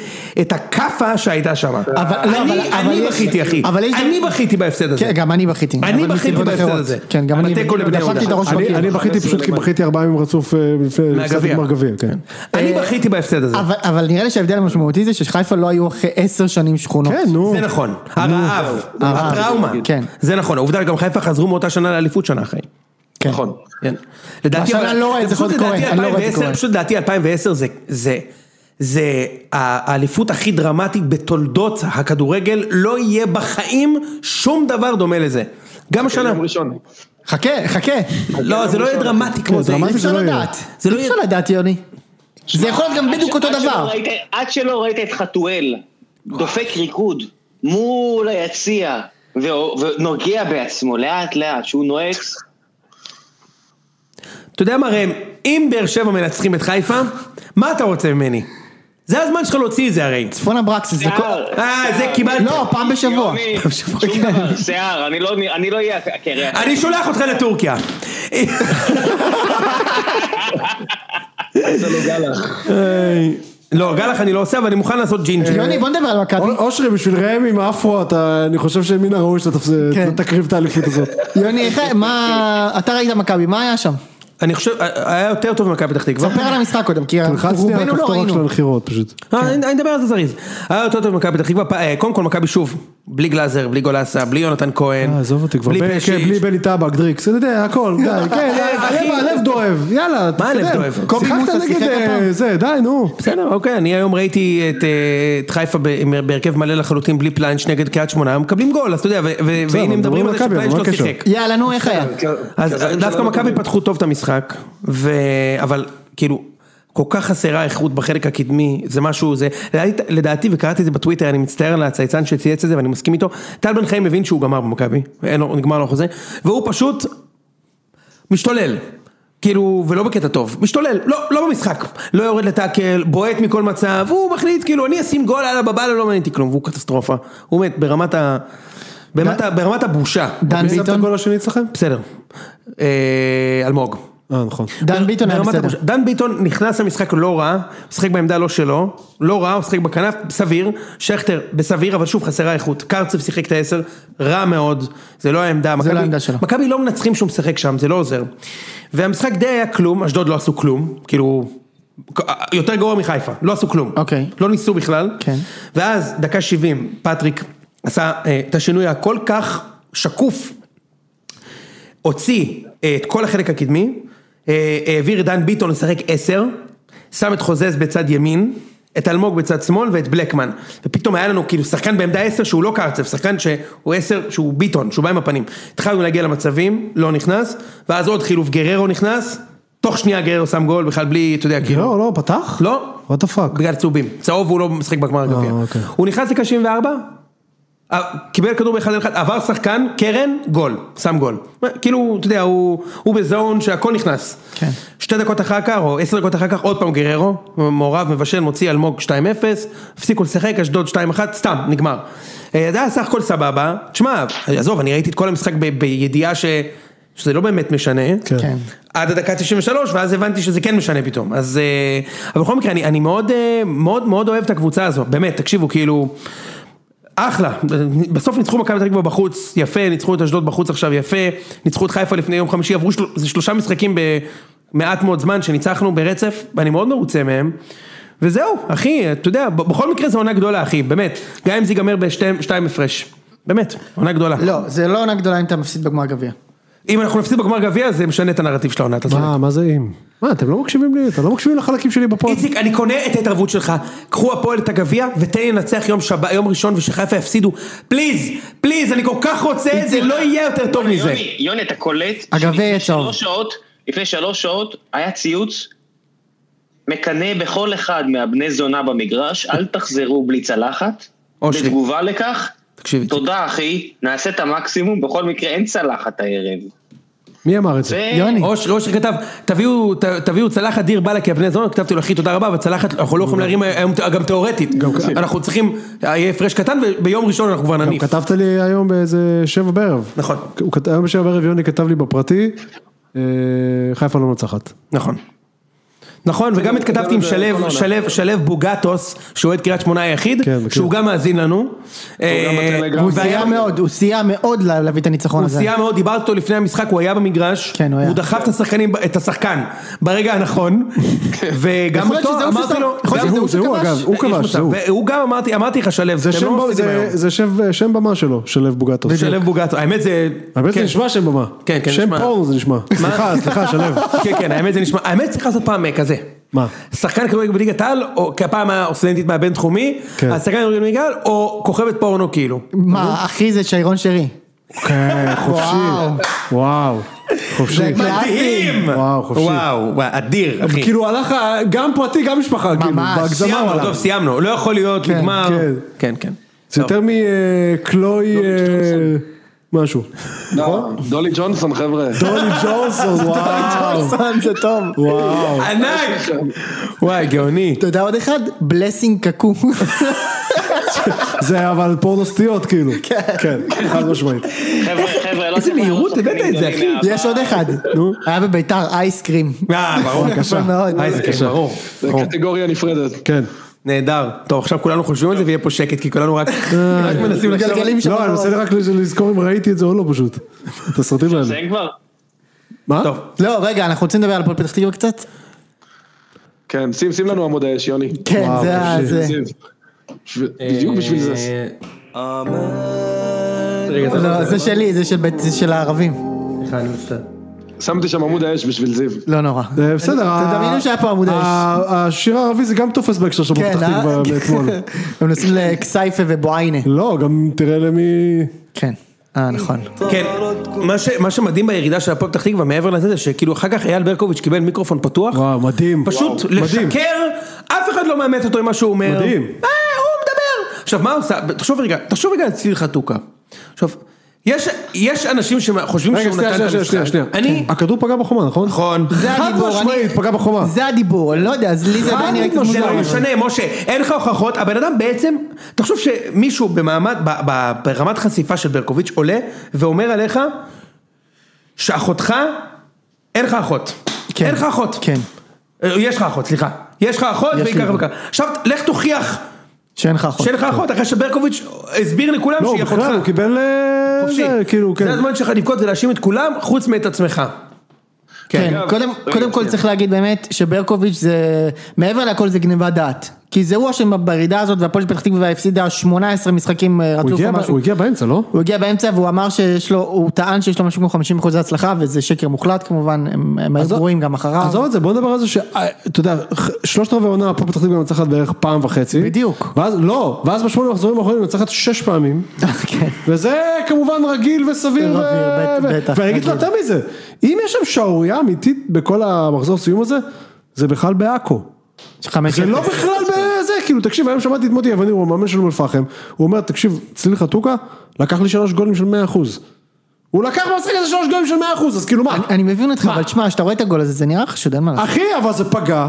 B: את הכאפה שהייתה שם.
E: אבל- לא, אבל-
B: אני
E: אבל
B: אני
E: יש-
B: בכיתי אחי,
E: אבל יש-
B: אני בכיתי בהפסד הזה.
E: כן, גם אני בכיתי.
B: אני
E: אבל
B: בכיתי
E: מסיבות
B: בהפסד
E: אחרות.
B: הזה.
E: כן, גם אני.
B: התיקו לבני
E: דפקתי את
B: יהודה.
E: הראש
A: אני
E: בקיר.
A: אני בכיתי פשוט כי בכיתי ארבעה ימים רצוף אה, לפני לפני
B: לא מהגביע.
A: גמר גביע, כן.
B: אני בכיתי בהפסד הזה.
E: אה, אבל- אבל נראה לי שההבדל המשמעותי זה שחיפה לא היו אחרי עשר שנים שכונות.
A: כן, נו.
B: זה נכון, הרעב,
E: הרעב.
B: הטראומה,
E: כן.
B: זה נכון, העובדה גם חיפה חזרו מאותה שנה לאליפות שנה אחרי,
E: כן.
C: נכון.
B: כן. לדעתי,
E: והשנה
B: אבל-
E: לא ראיתי, זה
B: פשוט
E: יכול להיות
B: לדעתי
E: קורה, אני לא ראיתי
B: 2010,
E: קורה.
B: פשוט לדעתי 2010 זה, זה, זה ה- האליפות הכי דרמטית בתולדות הכדורגל, לא יהיה בחיים שום דבר דומה לזה,
E: אוקיי,
B: גם השנה,
C: יום ראשון.
E: חכה, חכה.
B: לא זה לא יהיה דרמטי כמו
A: כן,
B: זה,
A: דרמטי
E: אי אפשר
A: שלא יהיה.
E: לדעת.
B: זה לא
E: אי אפשר
B: יהיה.
E: לדעת, יוני. זה יכול להיות גם
G: עד
E: בדיוק
G: ש-
E: אותו
G: עד שלא
E: דבר.
G: ראית- עד שלא ראית את חתואל דופק ריקוד מול היציע ו- ונוגע בעצמו לאט לאט, שהוא נועץ,
B: אתה יודע מה ראם, אם באר שבע מנצחים את חיפה, מה אתה רוצה ממני? זה הזמן שלך להוציא את זה הרי,
E: צפון אברקסיס. זה כל-
G: שיער.
B: אה זה קיבלת,
E: לא, פעם בשבוע. כן.
G: יוני, שום
B: כן.
G: דבר, שיער, אני לא- אני לא אהיה הקרח.
B: אני שולח אותך לטורקיה. איי. לא, גלח אני לא עושה, אבל אני מוכן לעשות
A: אה,
B: ג'ינג'י.
E: יוני, בוא נדבר על מכבי.
A: אוש- אושרי, בשביל ראם עם האפרו, אתה- אני חושב שמן הראוי שאתה תפס-
E: כן.
A: תקריב את האליפות הזאת.
E: יוני, איך- מה... אתה ראית מכבי, מה היה שם?
B: אני חושב, אה, היה יותר טוב ממכבי פתח תקווה.
E: ספר על המשחק קודם, כי
A: לחצתי על
E: רובנו לא
A: הכפתור רק של
E: ראינו.
A: הנחירות פשוט.
B: אה, אני אני אדבר על זה זריז. היה יותר טוב ממכבי פתח תקווה, פ- אה, קודם כל מכבי שוב, בלי גלאזר, בלי גולסה, בלי יונתן כהן.
A: אה, עזוב אותי כבר.
B: בלי
A: ב-
B: פשיץ'.
A: כן, בלי בני טבק, דריקס, אתה יודע, הכל, די, כן,
B: אה,
A: הלב-
B: אחי.
A: הלב דואב, יאללה,
B: הלב
A: תתקדם.
B: דואב?
A: קובי
E: שיחקת
A: מוסה
E: נגד,
A: שיחק
E: אה,
A: הפעם. זה, די, נו.
B: בסדר, אוקיי, אני היום ראיתי את, אה, את חיפה ב- בהרכב מלא לחלוטין, בלי פליינש נגד קריית שמונה, הם מקבלים גול, אז אתה יודע, ו- ו- והנה
A: אבל
B: מדברים
A: מדברים
B: על זה
A: על מכבי, אבל
B: שפליינש
A: מה
B: לא
A: הקשר?
B: שיחק.
E: יאללה, נו, איך היה?
B: כן. אז דווקא מכבי פתחו טוב את המשחק, ו... אבל כאילו, כל כך חסרה איכות בחלק הקדמי, זה משהו, זה... לדעתי- לדעתי, וקראתי את זה בטוויטר, אני מצטער על הצייצן שצייץ את זה ואני מסכים איתו, טל בן חיים מבין שהוא גמר במכבי, אין לו- נגמר לו החוזה, והוא פשוט משתולל. כאילו, ולא בקטע טוב, משתולל, לא, לא במשחק, לא יורד לטאקל, בועט מכל מצב, הוא מחליט, כאילו, אני אשים גול על הבבלה, לא מעניין אותי כלום, והוא קטסטרופה, הוא מת ברמת ה... ברמת, ה... ברמת הבושה. אוקיי?
E: דן
A: מי שם את
E: ביטון?
A: הגול השני אצלכם?
B: בסדר. אה, אלמוג.
A: אה, נכון.
E: דן ביטון היה
B: ברמת
E: בסדר.
B: הבושה. דן ביטון נכנס למשחק לא רע, משחק בעמדה לא שלו, לא רע, הוא משחק בכנף, סביר, שכטר בסביר, אבל שוב חסרה איכות, קרצב שיחק את העשר, רע מאוד, זה לא העמדה,
E: זה לא
B: מכבי-
E: העמדה שלו.
B: מכבי לא מנצחים שהוא משחק שם, זה לא עוזר. והמשחק די היה כלום, אשדוד לא עשו כלום, כאילו, יותר גרוע מחיפה, לא עשו כלום.
E: אוקיי.
B: לא ניסו בכלל.
E: כן.
B: ואז, דקה 70, פטריק עשה אה, את השינוי הכל כך שקוף הוציא אה, את כל החלק הקדמי, אה, העביר את דן ביטון לשחק עשר, שם את חוזז בצד ימין, את אלמוג בצד שמאל ואת בלקמן. ופתאום היה לנו כאילו שחקן בעמדה עשר שהוא לא קרצב, שחקן שהוא עשר, שהוא ביטון, שהוא בא עם הפנים. התחלנו להגיע למצבים, לא נכנס, ואז עוד חילוף גררו נכנס, תוך שנייה גררו שם גול בכלל בלי, אתה יודע, כאילו.
A: לא, לא, פתח?
B: לא.
A: וואט דה פאק.
B: בגלל צהובים, צהוב הוא לא משחק
E: אה,
B: בגמר הגביע.
A: אוקיי.
B: הוא נכנס לקה 74, אה, קיבל כדור באחד על אחד, עבר שחקן, קרן, גול, שם גול. כאילו, אתה יודע, הוא, הוא בזון שהכל נכנס.
E: כן.
B: שתי דקות אחר כך, או עשר דקות אחר כך, עוד פעם גררו, מעורב, מבשל, מוציא אלמוג 2-0, הפסיקו לשחק, אשדוד 2-1, סתם, נגמר. אה, זה היה סך הכל סבבה, תשמע, עזוב, אני ראיתי את כל המשחק ב- בידיעה ש... שזה לא באמת משנה,
E: כן.
B: עד הדקה 93 ואז הבנתי שזה כן משנה פתאום אז אה, אבל בכל מקרה אני, אני מאוד אה, מאוד מאוד אוהב את הקבוצה הזו באמת תקשיבו כאילו אחלה בסוף ניצחו מכבי פתח תקווה בחוץ יפה ניצחו את אשדוד בחוץ עכשיו יפה ניצחו את חיפה לפני יום חמישי עברו של, זה שלושה משחקים במעט מאוד זמן שניצחנו ברצף ואני מאוד מרוצה מהם. וזהו אחי אתה יודע ב- בכל מקרה זו עונה גדולה אחי באמת גם אם זה ייגמר בשתיים הפרש באמת עונה גדולה
E: לא, זה לא עונה גדולה אם אתה מפסיד בגמר גביע.
B: אם אנחנו נפסיד בגמר גביע זה משנה את הנרטיב של העונה אתה צודק.
A: מה, מה זה אם? מה, אתם לא מקשיבים לי? אתם לא מקשיבים לחלקים שלי בפוד?
B: איציק, אני קונה את ההתערבות שלך. קחו הפועל את הגביע ותן לי לנצח יום שבת, יום ראשון ושחיפה יפסידו. פליז, פליז, אני כל כך רוצה את זה, לא יהיה יותר טוב מזה.
G: יוני, יוני, אתה קולט,
E: אגב,
G: שלפני
E: אה, צהוב.
G: שלוש שעות, לפני שלוש שעות היה ציוץ מקנא בכל אחד מהבני זונה במגרש, אל תחזרו בלי צלחת.
B: אושרי.
G: בתגובה לכך,
B: תקשיב, איציק.
G: תודה אחי, נעשה את המקסימום, בכל מקרה אין צלחת הערב.
A: מי אמר את זה?
E: יוני.
B: אושר אושר כתב, תביאו- ת- תביאו צלחת דיר בלק יא בני זונות, כתבתי לו אחי תודה רבה, אבל צלחת, אנחנו לא יכולים להרים היום, גם תיאורטית, אנחנו צריכים, יהיה הפרש קטן, וביום ראשון אנחנו כבר
A: גם
B: נניף.
A: כתבת לי היום באיזה שבע בערב.
B: נכון.
A: הוא כת- היום בשבע בערב יוני כתב לי בפרטי, אה, חיפה לא מנצחת.
B: נכון. נכון, וגם התכתבתי עם שלו, שלו, שלו בוגטוס, שהוא אוהד קריית שמונה היחיד,
A: כן, מכיר.
B: שהוא גם מאזין לנו. אה,
C: גם בטלגרם.
B: הוא
E: הוא סייע מאוד, הוא סייע מאוד לה- להביא את הניצחון
B: הוא
E: הזה.
B: סייע מאוד, דיברתי איתו לפני המשחק, הוא היה במגרש,
E: כן, הוא היה.
B: הוא דחף את השחקנים, את השחקן, ברגע הנכון, וגם
E: יכול להיות שזה
B: אותו
E: הוא
B: אמרתי
E: ששם-
B: לו,
E: יכול להיות
A: זה הוא,
E: שזה הוא
A: זה הוא
E: שכבש.
A: אגב, הוא
B: יש
A: כבש,
B: מצב.
A: זה הוא.
B: והוא גם אמרתי, אמרתי לך שלו,
A: זה
B: אתם
A: שם
B: לא
A: במה-
B: מפסידים
A: זה-
B: היום.
A: זה שם- אה, שם במה שלו, שלו בוגטו.
B: שלו בוגטו, האמת זה...
A: האמת זה
B: כן.
A: נשמע שם במה.
B: כן, כן,
A: שם
B: נשמע.
A: פורנו זה נשמע. סליחה, סליחה, שלו.
B: כן, כן, האמת זה נשמע, האמת צריך לעשות פעם אה, כזה.
A: מה?
B: שחקן כדורגל בליגת העל, או כי הפעם היה סטודנטית מהבינתחומי,
A: כן.
B: אז שחקן כדורגל בליגת העל, או כוכבת פורנו כאילו.
E: מה, אחי זה שיירון שרי.
A: כן, חופשי. וואו. חופשי.
B: מדהים!
A: וואו, חופשי.
B: וואו, וואו, אדיר, אחי.
A: כאילו הלך ה- גם פרטי, גם משפחה, כאילו,
E: ממש.
A: בהגזמה הוא
B: סיימנו,
A: הלך.
B: טוב, סיימנו, לא יכול להיות,
E: כן,
B: נגמר.
A: כן.
B: כן, כן.
A: זה יותר מקלוי
E: לא
A: אה, משהו.
E: נכון?
C: לא, דולי ג'ונסון חבר'ה.
A: דולי ג'ונסון, וואו.
E: ג'ונסון זה טוב.
A: וואו.
B: כן. ענק! וואי, גאוני.
E: אתה יודע עוד אחד? בלסינג קקו.
A: זה אבל פורנו סטיות כאילו. כן, חד משמעית.
G: חבר'ה, חבר'ה, לא
B: איזה
G: צריך
B: מהירות
G: לעשות
B: הבאת את
G: שחקנים
B: זה, אחי.
G: גדולים
E: יש עוד אחד.
A: נו.
E: היה בביתר אייסקרים.
B: אה, ברור. אה,
E: קשה. מאוד.
B: אייסקרים, ברור.
C: זה קטגוריה נפרדת.
A: כן.
B: נהדר. טוב, עכשיו כולנו חושבים על זה ויהיה פה שקט, כי כולנו רק
A: אה,
B: רק מנסים לחשוב. על-
E: מגלגלים שם.
A: לא, אני מנסה רק לזכור אם ראיתי את זה או לא פשוט. את הסרטים
G: מה. זה
A: האלה.
G: אין כבר?
A: מה?
B: טוב,
E: לא, רגע, אנחנו רוצים לדבר על הפועל פתח תקווה קצת?
C: כן, שים, שים לנו עמוד האש, יוני.
E: כן,
A: וואו,
E: זה ה...
A: חופשי.
E: זה-
C: שים. בשביל- בדיוק בשביל זה.
B: רגע, זה
E: לא, זה שלי, זה של בית- זה של הערבים.
B: סליחה, אני מצטער.
C: שמתי שם עמוד האש בשביל זיו.
E: לא נורא.
A: אה, בסדר, ה-
E: תדמיינו שהיה פה עמוד אש.
A: ה- השיר הערבי זה גם תופס בהקשר של
E: כן,
A: פתח תקווה מאתמול.
E: הם נוסעים לכסייפה ובועיינה.
A: לא, גם תראה למי...
E: כן. אה, נכון.
B: כן, מה ש- מה שמדהים בירידה של הפועל פתח תקווה, מעבר לזה, זה שכאילו אחר כך אייל ברקוביץ' קיבל מיקרופון פתוח,
A: וואו, מדהים.
B: פשוט
A: וואו, מדהים.
B: לשקר, אף אחד לא מאמת אותו עם מה שהוא אומר.
A: מדהים.
B: אה, הוא מדבר. עכשיו, מה עושה? תחשוב רגע, תחשוב רגע על ציר חתוקה. עכשיו, יש- יש אנשים שחושבים
A: רגע,
B: שהוא
A: שנייה,
B: נתן את
A: שנייה, שנייה,
B: המשחק.
A: שנייה.
B: אני...
A: כן. הכדור פגע בחומה, נכון?
B: נכון.
E: זה
A: חד
E: הדיבור, אני-
A: משמעית, פגע בחומה.
E: זה הדיבור, אני לא יודע, אז לי זה עדיין נראה קצת
B: זה
E: מוזר.
B: לא משנה, משה, אין לך הוכחות, הבן אדם בעצם, תחשוב שמישהו במעמד, ב- ב- ברמת חשיפה של ברקוביץ' עולה ואומר עליך שאחותך, אין לך אחות.
E: כן.
B: אין לך אחות.
E: כן.
B: אה, יש לך אחות, סליחה. יש לך אחות
E: יש
B: והיא
E: לי
B: ככה
E: אחות.
B: וככה. עכשיו לך תוכיח
E: שאין לך אחות.
B: שאין לך אחות, אחרי שברקוביץ' הסביר לכולם
A: לא,
B: שהיא אחותך.
A: בכלל, הוא קיבל... אה,
B: חופשי.
A: זה, כאילו, כן.
B: זה הזמן שלך לבכות, זה להאשים את כולם, חוץ מאת עצמך.
E: כן,
C: אגב,
E: קודם,
C: רגע,
E: קודם כל
C: שנייה.
E: צריך להגיד באמת שברקוביץ' זה, מעבר לכל זה גניבת דעת. כי זה הוא אשם בירידה הזאת והפועל פתח תקווה הפסידה 18 משחקים אה,
A: הוא
E: רצוף
A: הגיע
E: או
A: ב-
E: משהו.
A: הוא הגיע באמצע, לא?
E: הוא הגיע באמצע והוא אמר שיש לו, הוא טען שיש לו משהו כמו 50 אחוזי הצלחה וזה שקר מוחלט כמובן, הם, הם היו
A: עזוב-
E: גרועים גם אחריו.
A: עזוב את זה, בוא נדבר על זה ש... אה, אתה יודע, ח- שלושת רבעי עונה הפועל פתח תקווה מנצחת בערך פעם וחצי.
E: בדיוק.
A: ואז, לא, ואז בשמונה מחזורים האחרונים מנצחת שש פעמים.
E: כן.
A: וזה כמובן רגיל וסביר.
E: סביר,
A: ו-
E: בט- בטח,
A: ואני אגיד לך
E: רגיל.
A: יותר מזה, אם יש שם שערורייה אמיתית בכל המחזור סיום הזה, זה בכלל בעכו.
E: חמש
A: זה
E: אפס.
A: לא בכלל בזה, כאילו, תקשיב, היום שמעתי את מוטי אבניר, הוא המאמן של אום אל-פחם, הוא אומר, תקשיב, צליל חתוקה, לקח לי שלוש גולים של 100%. הוא לקח במשחק הזה שלוש גולים של 100%, אז כאילו מה?
E: אני, אני מבין אותך, אבל תשמע, כשאתה רואה את הגול הזה זה נראה חשוד, אין מה לעשות.
A: אחי, אבל זה פגע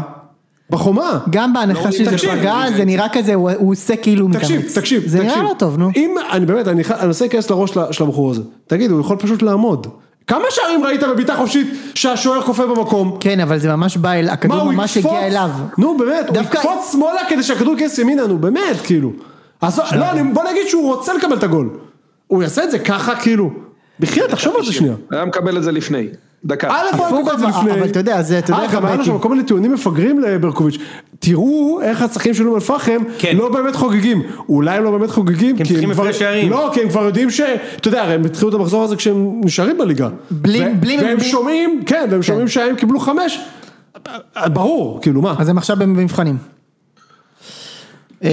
A: בחומה.
E: גם בהנחה שזה
A: אה, לא, תקשיב.
E: פגע, זה נראה כזה, הוא הוא עושה כאילו הוא מתאמץ.
A: תקשיב, תקשיב,
E: זה
A: תקשיב.
E: נראה לא טוב, נו.
A: אם, אני באמת, אני ח- אני מנסה להיכנס לראש של- של הבחור הזה. תגיד, הוא יכול פשוט לעמוד. כמה שערים ראית בבעיטה חופשית שהשוער חופה במקום?
E: כן, אבל זה ממש בא אל,
A: מה,
E: הכדור
A: הוא
E: ממש
A: יקפוץ?
E: הגיע אליו.
A: נו באמת, הוא
E: דווקא-
A: יקפוץ שמאלה כדי שהכדור ייכנס ימינה, נו באמת, כאילו. אז לא, אני- בוא נגיד שהוא רוצה לקבל את הגול. הוא יעשה את זה ככה, כאילו. בחייאת, תחשוב על זה שנייה.
C: היה מקבל את זה לפני. דקה.
B: אה, לא,
A: א' הוא היה
E: הפוך,
A: קופץ
E: אבל-
A: לפני.
E: אבל אתה יודע, זה- אתה יודע
A: אה,
E: איך
A: גם היה לו
E: הבעייתי.
A: שם כל מיני טיעונים מפגרים לברקוביץ'. תראו איך השחקנים של אום אל-פחם
B: כן.
A: לא באמת חוגגים. אולי הם לא באמת חוגגים, כי
B: צריכים
A: כבר...
B: הפרש שערים.
A: לא, כי הם כבר יודעים ש... אתה יודע, הרי הם התחילו את המחזור הזה כשהם נשארים בליגה.
E: בלי-
A: ו-
E: בלי
A: והם
E: מבנים.
A: שומעים, כן, והם שומעים שהם קיבלו חמש. ברור, כאילו מה.
E: אז הם עכשיו במבחנים.
A: כן.
E: אה,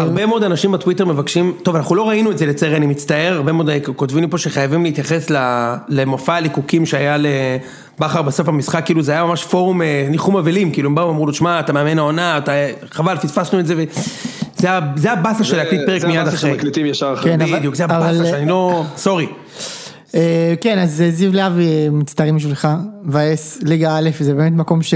B: הרבה מאוד אנשים בטוויטר מבקשים, טוב אנחנו לא ראינו את זה לצערי אני מצטער, הרבה מאוד כותבים לי פה שחייבים להתייחס ל- למופע הליקוקים שהיה לבכר בסוף המשחק, כאילו זה היה ממש פורום אה, ניחום אבלים, כאילו הם באו ואמרו לו, שמע אתה מאמן העונה, אתה... חבל פספסנו את זה, ו... זה, ה- זה הבאסה של להקליט פרק
C: זה
B: מיד
C: הבאסה
B: אחרי,
C: שמקליטים ישר אחרי.
E: כן, אבל-
B: בדיוק זה
E: אבל-
B: הבאסה שאני לא, סורי,
E: אה, כן, אז אה, זיו להבי, אה, מצטערים בשבילך, מבאס, ליגה א', זה באמת מקום ש...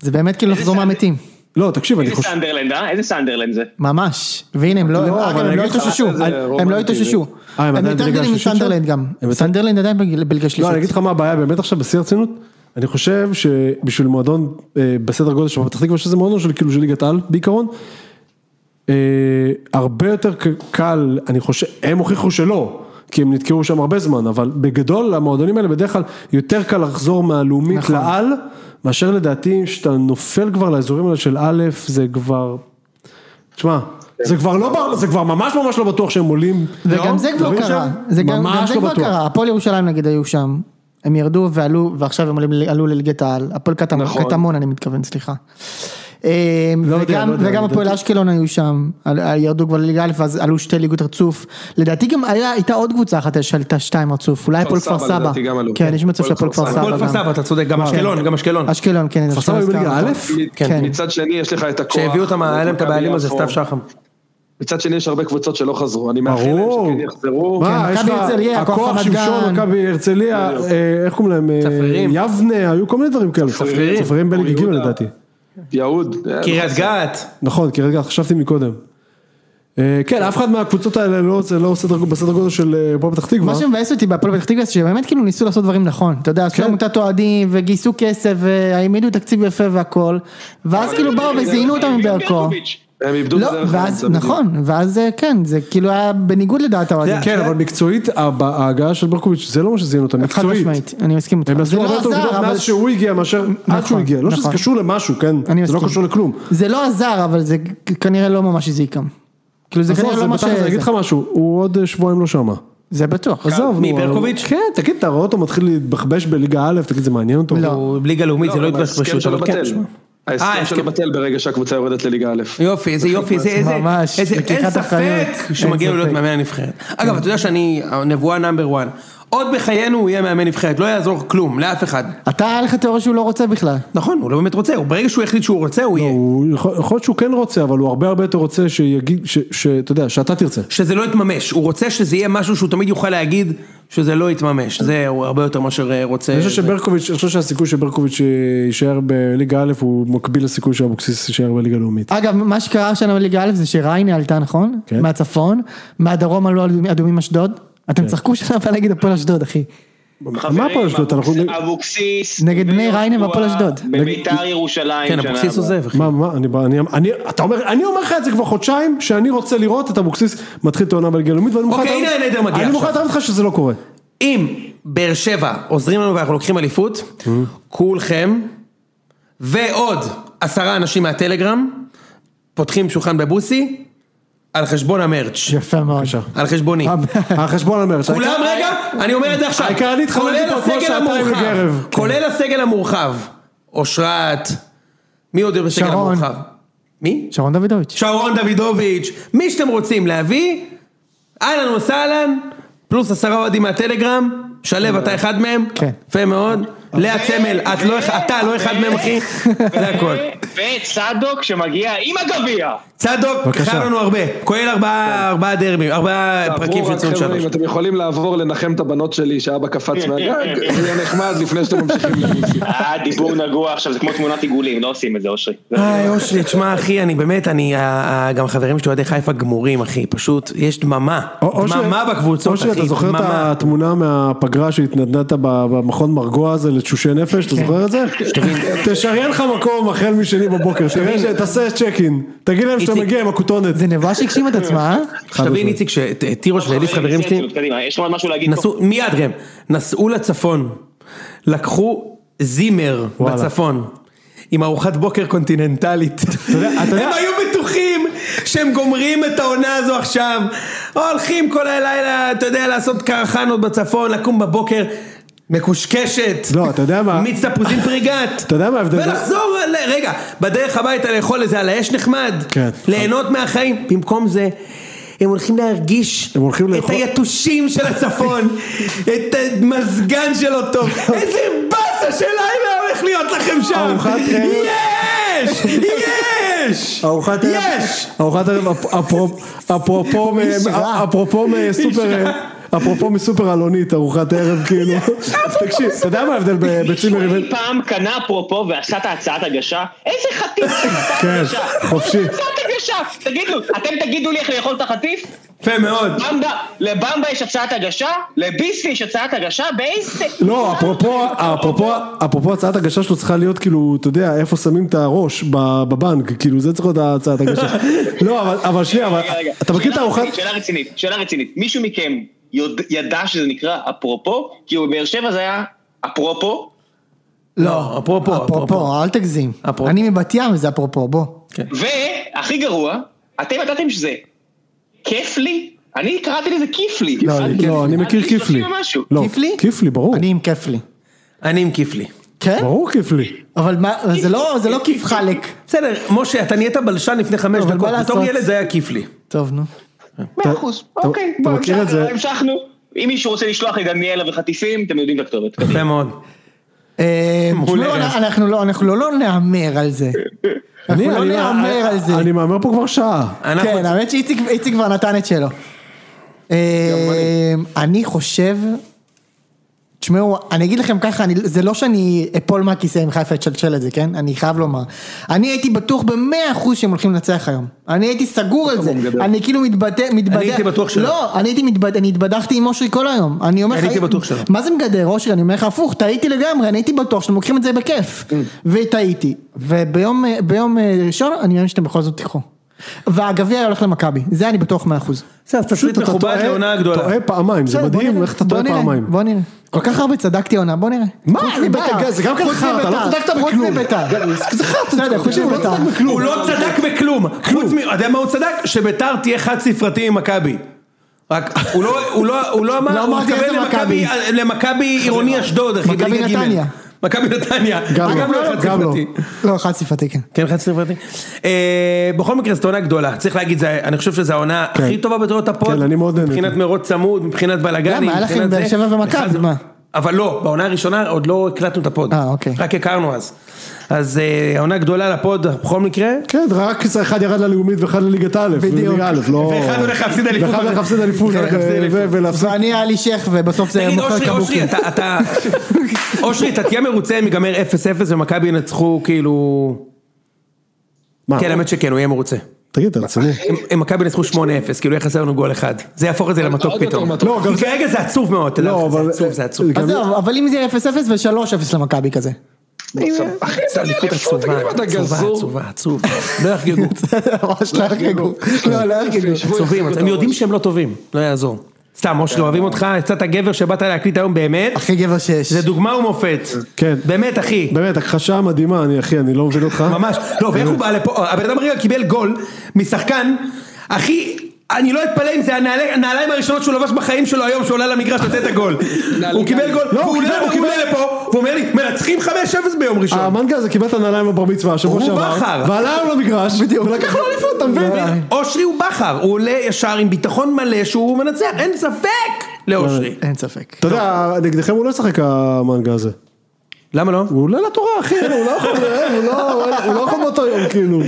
E: זה באמת כאילו
G: איזה
E: לחזור
G: סנדר-
E: מהמתים,
A: לא, תקשיב, אני
G: איזה
A: חושב...
G: סנדרלנד, אה? איזה סנדרלנד זה?
E: ממש. והנה, הם לא,
A: לא,
E: אה,
A: אבל
E: גם
A: אני
E: הם לא
A: אגיד לך,
E: התאוששו,
C: זה
E: הם לא
C: רומנטי,
E: התאוששו.
A: אה, הם
E: הם
A: עדיין
E: יותר
A: בליגה
E: גדולים
A: השלישית
E: מסנדרלנד
A: שם?
E: גם.
A: הם יותר-
E: סנדרלנד עדיין בג- בליגה
A: לא, אני אגיד
E: השלישית.
A: לך מה הבעיה, באמת עכשיו בשיא הרצינות, אני חושב שבשביל מועדון אה, בסדר גודל של פתח תקווה, שזה מועדון של כאילו של ליגת על בעיקרון, אה, הרבה יותר ק- קל, אני חושב, הם הוכיחו שלא. כי הם נתקעו שם הרבה זמן, אבל בגדול המועדונים האלה בדרך כלל יותר קל לחזור מהלאומית
E: נכון.
A: לעל, מאשר לדעתי שאתה נופל כבר לאזורים האלה של א', זה כבר, תשמע, זה כבר לא, בר- זה כבר ממש ממש לא בטוח שהם עולים.
E: וגם זה כבר
A: עולים
E: קרה,
A: לא? שם?
E: זה גם גם
A: ממש
E: זה
A: לא
E: כבר
A: בטוח.
E: קרה, הפועל ירושלים נגיד היו שם, הם ירדו ועלו, ועכשיו הם עולים- עלו לליגת העל, הפועל קטמון,
C: נכון.
E: קטמון אני מתכוון, סליחה. אה,
A: לא יודע,
E: וגם-
A: לא יודע,
E: וגם
A: לדעתי.
E: הפועל אשקלון היו שם, על- על- ירדו כבר לליגה א' ואז עלו שתי ליגות רצוף, לדעתי גם היה- הייתה עוד קבוצה אחת שעלתה שתיים רצוף, אולי הפועל כפר
C: סבא,
E: סבא,
C: לדעתי, גם עלו.
E: כן יש מצב שהפועל כפר
B: הכל
E: סבא
B: כפר
E: גם,
B: סבא, אתה צודק, גם אשקלון, גם אשקלון.
E: אוקיי. אשקלון כן,
A: כפר סבא היו בליגה א'?
E: כן.
C: מצד שני יש לך את הכוח.
B: כשהביאו אותם, היה להם את
C: מכבי
B: הבעלים הזה,
C: יפו.
B: סתיו שחם.
C: מצד שני יש הרבה קבוצות שלא חזרו, אני מאחל להם
A: ברור.
C: שכן יחזרו. לא,
A: מה,
E: כן,
A: יש
E: מכבי
A: לך
E: הרצליה, הכוח
A: הכוח
E: רמת
A: שמשון,
E: גן.
A: מכבי הרצליה, אה, איך קוראים להם? אה,
B: צפרירים.
A: יבנה, היו כל מיני דברים כאלה.
B: צפרירים.
A: צפרירים בליגה ג'
C: יהודה.
A: לדעתי.
C: כן, יהוד.
B: קריית גת.
A: נכון, כי רגע, חשבתי מקודם. אה, כן, אף אחד מהקבוצות האלה לא, זה לא סדר- בסדר גודל של אה, פה פתח תקווה.
E: מה שמבאס אותי בהפועל פתח תקווה זה שבאמת כאילו ניסו לעשות דברים נכון, אתה יודע, עשו
A: כן.
E: עמותת אוהדים וגייסו כסף והעמידו תקציב יפה והכל, ואז כאילו באו וזיינו אותם בערכו.
C: הם איבדו את
E: לא,
C: זה דרך
E: ואז,
C: האמצע,
E: נכון, ואז אה, כן, זה כאילו היה בניגוד לדעת האוהדים.
A: כן, אבל מקצועית, הב- ההגעה של ברקוביץ' זה לא מה שזיין אותם,
E: חד
A: מקצועית.
E: משמעית, אני מסכים איתך.
A: הם
E: זה
A: עשו הרבה
E: לא
A: יותר
E: עזר,
A: גדול
E: אבל...
A: מאז שהוא הגיע מאשר עד שהוא
E: נכון,
A: הגיע. לא שזה
E: נכון.
A: קשור למשהו, כן?
E: אני
A: זה לא
E: מסכים.
A: קשור לכלום.
E: זה לא עזר, אבל זה כ- כנראה לא ממש הזיק גם. כאילו זה
A: עזוב,
E: כנראה
A: נכון, זה
E: לא מה ש...
A: בתכלס, אני אגיד לך משהו, הוא עוד אה, שבועיים לא שמה.
E: זה בטוח.
A: עזוב,
B: מי,
A: נו, אבל-
B: ברקוביץ'?
A: כן, תגיד, אתה רואה אותו מתחיל להתבחבש בליגה א', תגיד, זה מעניין אותו?
E: לא.
B: הוא ליגה לאומית, זה לא
C: אבל
B: יתבש
C: ההסכם
B: פשוט,
C: שלו
B: אבל כן.
C: בטל.
B: תשמע. אה,
C: ההסכם שלו
B: הסכם.
C: בטל ברגע שהקבוצה יורדת לליגה א'.
B: יופי, איזה יופי, זה איזה,
E: ממש,
B: איזה, אין
E: לקיחת אחריות.
B: ספק שמגיע
E: אין
B: לו להיות
E: ספק. כן.
B: מאמן הנבחרת. אגב, אתה יודע שאני הנבואה נאמבר 1. עוד בחיינו הוא יהיה מאמן נבחרת, לא יעזור כלום, לאף אחד.
E: אתה, היה לך תיאוריה שהוא לא רוצה בכלל.
B: נכון, הוא לא באמת רוצה, הוא- ברגע שהוא יחליט שהוא רוצה, הוא יהיה.
A: הוא יכול יכול להיות שהוא כן רוצה, אבל הוא הרבה הרבה יותר רוצה שיגיד, ש- שאתה יודע, שאתה תרצה.
B: שזה לא יתממש, הוא רוצה שזה יהיה משהו שהוא תמיד יוכל להגיד שזה לא יתממש, זה הוא הרבה יותר מאשר אה, רוצה.
A: אני חושב שברקוביץ', אני חושב שהסיכוי שברקוביץ' יישאר בליגה א' הוא מקביל לסיכוי שאבוקסיס יישאר בליגה לאומית.
E: אגב, מה שקרה השנה בליגה א' זה שריינה עלתה, נכון?
A: כן.
E: מהצפון, מהדרום עלו אדומים- אדומים אשדוד. אתם צחקו שנה הבאה נגד הפועל אשדוד, אחי.
A: מה פה אשדוד? אנחנו...
G: אבוקסיס.
E: נגד בני
G: ויהושע
E: ריינה והפועל אשדוד.
G: בביתר ירושלים.
B: כן,
G: שנה
B: אבוקסיס
G: הבאה.
B: עוזב, אחי.
A: מה, מה, אני, אני, אני, אתה אומר, אני אומר לך את זה כבר חודשיים, שאני רוצה לראות את אבוקסיס מתחיל את העונה בליגה הלאומית, ואני מוכן...
B: אוקיי,
A: לתאר-
B: הנה הנדר מגיע
A: אני מוכן
B: עכשיו.
A: לתאר לך שזה לא קורה.
B: אם באר שבע עוזרים לנו ואנחנו לוקחים אליפות, כולכם, ועוד עשרה אנשים מהטלגרם, פותחים שולחן בבוסי, על חשבון המרץ',
E: יפה מאוד.
B: על חשבוני.
A: החשבון אומר,
B: כולם רגע, אני אומר את זה עכשיו,
A: העיקר אני התחממתי
B: כולל
A: פה אתמול
B: הסגל
A: שעתיים
B: המורחב,
A: בגרב.
B: כולל הסגל המורחב, אושרת, מי עוד בסגל
E: שרון.
B: המורחב? מי?
E: שרון דוידוביץ'.
B: שרון דוידוביץ', מי שאתם רוצים להביא, אהלן וסהלן, פלוס עשרה אוהדים מהטלגרם, שלו אתה אחד מהם,
E: כן.
B: יפה מאוד, לאה צמל, את לא אח- אתה לא אחד מהם אחי, זה הכל.
G: וצדוק שמגיע עם הגביע.
B: צדוק,
A: בבקשה.
B: חייב לנו הרבה, כולל ארבעה ארבעה דרבים, ארבעה פרקים של
C: תעברו כן. רק,
B: ציון
C: חבר'ה,
B: שלוש.
C: אם אתם יכולים לעבור לנחם את הבנות שלי שאבא קפץ מהגג, זה יהיה נחמד לפני שאתם ממשיכים לבוסי.
G: אה, דיבור נגוע עכשיו, זה כמו תמונת עיגולים, לא עושים את זה, אושרי.
B: היי אושרי, תשמע אחי, אני באמת, אני, ה- ה- גם החברים שלי אוהדי חיפה גמורים אחי, פשוט, יש דממה, דממה בקבוצות
A: אושרי,
B: אחי,
A: אתה זוכר את
B: דממה.
A: התמונה מהפגרה שהתנדנדת ב- במכון מרגוע הזה לתשושי נפש, אתה
B: כן.
A: זוכר את זה? תשריין לך מקום החל משני בבוקר, תראה, ש- תעשה צ'ק אין, תגיד להם שאתה
B: איציק-
A: מגיע עם הכותונת.
E: זה נבואה שהגשים את עצמה, אה?
B: שתבין איציק, שתירוש ואליף
G: אה,
B: חברים כן. שלי,
G: קדימה, יש לך עוד משהו להגיד?
B: נסעו, מיד ראם, נסעו לצפון, לקחו זימר
A: וואלה.
B: בצפון. עם ארוחת בוקר קונטיננטלית.
A: יודע- אתה יודע-
B: הם היו בטוחים שהם גומרים את העונה הזו עכשיו. הולכים כל הלילה, אתה יודע, לעשות קרחנות בצפון, לקום בבוקר, מקושקשת.
A: לא, אתה יודע מה?
B: מיץ תפוזים פריגת.
A: אתה יודע מה ההבדל?
B: ולחזור, ל- רגע, בדרך הביתה לאכול איזה על האש נחמד.
A: כן.
B: ליהנות מהחיים. במקום זה, הם הולכים להרגיש
A: הם הולכים
B: את
A: לאכול-
B: היתושים של הצפון, את המזגן של אותו, איזה באסה של לילה הולך להיות לכם שם!
A: ארוחת ערב.
B: יש! יש!
A: ארוחת ערב,
B: יש!
A: ארוחת ערב, אפרופו, אפרופו, מ- אפרופו מסופר, אפרופו מסופר אלונית, ארוחת ערב, כאילו. תקשיב, אתה יודע מה ההבדל ב-
G: מישהו
A: בצימר לבין...
G: אי פעם קנה אפרופו ועשה את ההצעת הגשה? איזה חטיף זה הצעת
A: כן,
G: הגשה?
A: חופשי.
G: איזה הצעת הגשה? תגידו, אתם תגידו לי איך לאכול את החטיף?
B: יפה מאוד.
G: במבה, לבמבה יש הצעת הגשה? לביסלי יש הצעת הגשה? באיזה...
A: לא, אפרופו, אפרופו, אפרופו הצעת הגשה שלו צריכה להיות כאילו, אתה יודע, איפה שמים את הראש ב- בבנק, כאילו זה צריך להיות הצעת הגשה. לא, אבל- אבל שנייה, אבל
G: רגע, רגע.
A: אתה מכיר את
G: שאלה
A: הארוחת...
G: רצינית, שאלה רצינית, שאלה רצינית. מישהו מכם יודע- ידע שזה נקרא אפרופו? כי בבאר שבע זה היה אפרופו,
B: לא, אפרופו, אפרופו.
E: אפרופו, אל תגזים.
B: אפרופו.
E: אני מבת ים, זה אפרופו, בוא.
G: והכי גרוע, אתם ידעתם שזה כיף לי? אני קראתי לזה כיף לי.
A: לא,
G: עד
A: לא, אני מכיר
G: עד
A: כיף לי.
G: 30 ומשהו.
A: לא,
E: כיפלי?
A: כיפלי, ברור.
E: אני עם כיף לי.
B: אני עם כיפלי.
E: כן?
A: ברור כיפלי.
E: אבל מה, אבל זה לא, זה לא כיף חלק.
B: בסדר, משה, אתה נהיית בלשן לפני חמש
E: אבל
B: דקות,
E: מה
B: בתור
E: לעשות?
B: ילד זה היה כיפלי.
E: טוב, נו.
G: מאה אחוז,
A: אתה-
G: אוקיי,
A: אתה
G: בוא,
A: מכיר
G: המשכנו,
A: את זה?
G: המשכנו. אם מישהו רוצה לשלוח לי דניאלה וחטיפים, אתם יודעים את הכתובת.
B: יפה מאוד.
E: אה,
B: מעולה.
E: תשמעו, אנ- אנחנו לא, אנחנו לא לא נהמר על זה. אנחנו
A: אני-
E: לא
A: אני-
E: נהמר
A: אני-
E: על זה.
A: אני מהמר פה כבר שעה.
B: אנחנו-
E: כן, האמת שאיציק איציק כבר נתן את שלו. אה, אני חושב, תשמעו, אני אגיד לכם ככה, אני, זה לא שאני אפול מהכיסא אם חיפה תשלשל את זה, כן? אני חייב לומר. אני הייתי בטוח במאה אחוז שהם הולכים לנצח היום. אני הייתי סגור על זה. אני כאילו מתבדח, מתבדח.
B: הייתי בטוח שלא.
E: לא, אני הייתי מתבדח, אני התבדחתי עם אושרי כל היום. אני אומר לך...
B: אני הייתי בטוח שלא.
E: מה זה מגדר, אושרי? אני אומר לך הפוך, טעיתי לגמרי, אני הייתי בטוח שאתם לוקחים את זה בכיף.
A: כן.
E: וטעיתי. וביום אה, ביום, אה, ראשון, אני מאמין שאתם בכל זאת תיקחו. והגביע הולך למכבי, זה אני בטוח מאה אחוז.
A: בסדר, אז
B: תסריט
A: אתה
B: מכובד
A: טועה-
B: לעונה הגדולה.
A: טועה פעמיים, זה
E: בסדר, בוא
A: מדהים
E: נראה,
A: איך אתה
E: בוא
A: טועה
E: נראה,
A: פעמיים.
E: בוא נראה. כל כך הרבה צדקתי העונה, בוא נראה.
A: מה?
E: חוץ
A: אני
E: מבית"ר.
A: בטח, זה גם
E: חוץ
A: ככה חרטא, לא
E: מבית"ר.
A: צדקת
E: חוץ
A: בכלום. לא
E: מביתר.
A: זה חרטא.
E: בסדר, חוץ
A: הוא לא
E: מביתר.
A: צדק בכלום.
B: הוא לא צדק בכלום, חוץ מ... אתה יודע מה הוא צדק? שביתר תהיה חד ספרתי עם מכבי. רק, הוא לא- הוא לא- הוא לא אמר,
E: לא
B: הוא
E: אמרתי
B: התכוון
E: איזה
B: למכבי- למכבי עירוני אשדוד, אחי,
E: מכבי
B: בליגה ג'.
E: נתניה.
B: מכבי נתניה.
A: גם
B: אגב,
A: לא,
B: לא חד
A: גם לא.
B: ספרתי.
E: לא, חד ספרתי, כן.
B: כן, חד ספרתי. אה, בכל מקרה, זאת עונה גדולה. צריך להגיד, זה- אני חושב שזו העונה
A: כן.
B: הכי טובה בתולדות הפועל.
A: כן, אני מאוד נהניתי.
B: מבחינת מרוץ צמוד, מבחינת בלאגנים.
E: למה? היה לכם
B: מבחינת
E: באר
B: זה.
E: שבע ומכבי,
B: בכלל זה-
E: מה?
B: אבל לא, בעונה הראשונה עוד לא הקלטנו את הפוד.
E: אה, אוקיי.
B: רק הכרנו אז. אז אה, העונה גדולה לפוד, בכל מקרה.
A: כן, רק אחד ירד ללאומית ואחד לליגת א', לליגה א', לא...
B: ואחד הולך להפסיד אליפות.
A: ואחד הולך להפסיד אליפות, אה,
B: אחד הולך
A: ו-
B: להפסיד אליפות.
A: ו- ולהפסיד...
E: ואני היה לי שייח ובסוף זה
B: תגיד,
E: מוכר
B: אושרי,
E: קבוקים.
B: אושרי, אתה- אתה... אושרי, אתה תהיה מרוצה אם ייגמר 0-0 ומכבי ינצחו כאילו...
A: מה?
B: כן, האמת שכן, הוא יהיה מרוצה.
A: תגיד, אתה רציני?
B: אם- אם מכבי ינצחו 8-0, כאילו יהיה חסר לנו גול אחד. זה יהפוך את זה למתוק
C: עוד יותר
B: פתאום.
C: מתוק.
B: לא, כי כרגע זה עצוב מאוד, אתה יודע,
A: לא,
B: זה
A: אבל...
B: עצוב, זה עצוב.
A: גם-
E: אז זהו, אבל אם זה יהיה 0-0 ו-3-0 למכבי כזה.
C: אחי, זה אליפות
B: עצובה,
C: עצובה,
B: עצובה, עצובה, עצוב. לא יחגגו.
E: ממש לא יחגגו. לא, לא יחגגו.
B: עצובים, הם יודעים שהם לא טובים, לא יעזור. סתם, אושרי, אוהבים אותך, יצאת גבר שבאת להקליט היום באמת.
E: הכי גבר שיש.
B: זה דוגמה ומופת.
A: כן.
B: באמת, אחי.
A: באמת, הכחשה מדהימה, אני אחי, אני לא מבין אותך.
B: ממש, לא, ואיך הוא בא לפה, הבן אדם הרגע קיבל גול משחקן, אחי, אני לא אתפלא אם זה הנעלי- הנעליים הראשונות שהוא לבש בחיים שלו היום, שהוא עולה למגרש לתת את הגול. הוא קיבל גול,
A: לא, הוא
B: והוא
A: קיבל, אה,
B: עולה
A: הוא
B: והוא עולה
A: קיבל.
B: לפה, והוא אומר לי, מנצחים 5-0 ביום ראשון.
A: המנגה הזה קיבל את הנעליים בבר מצווה השבוע
B: לא. הוא לא,
A: שעבר,
B: בכר.
A: ועלה היום למגרש, ולקח לו אליפות, אתה מבין?
B: אושרי הוא בכר, הוא עולה ישר עם ביטחון מלא שהוא מנצח, אין ספק לאושרי.
E: אין ספק.
A: אתה יודע, נגדכם הוא לא ישחק המנגה הזה.
B: למה לא?
A: הוא עולה לתורה, אחי, הוא לא יכול, הוא לא- הוא לא יכול באותו יום, כאילו.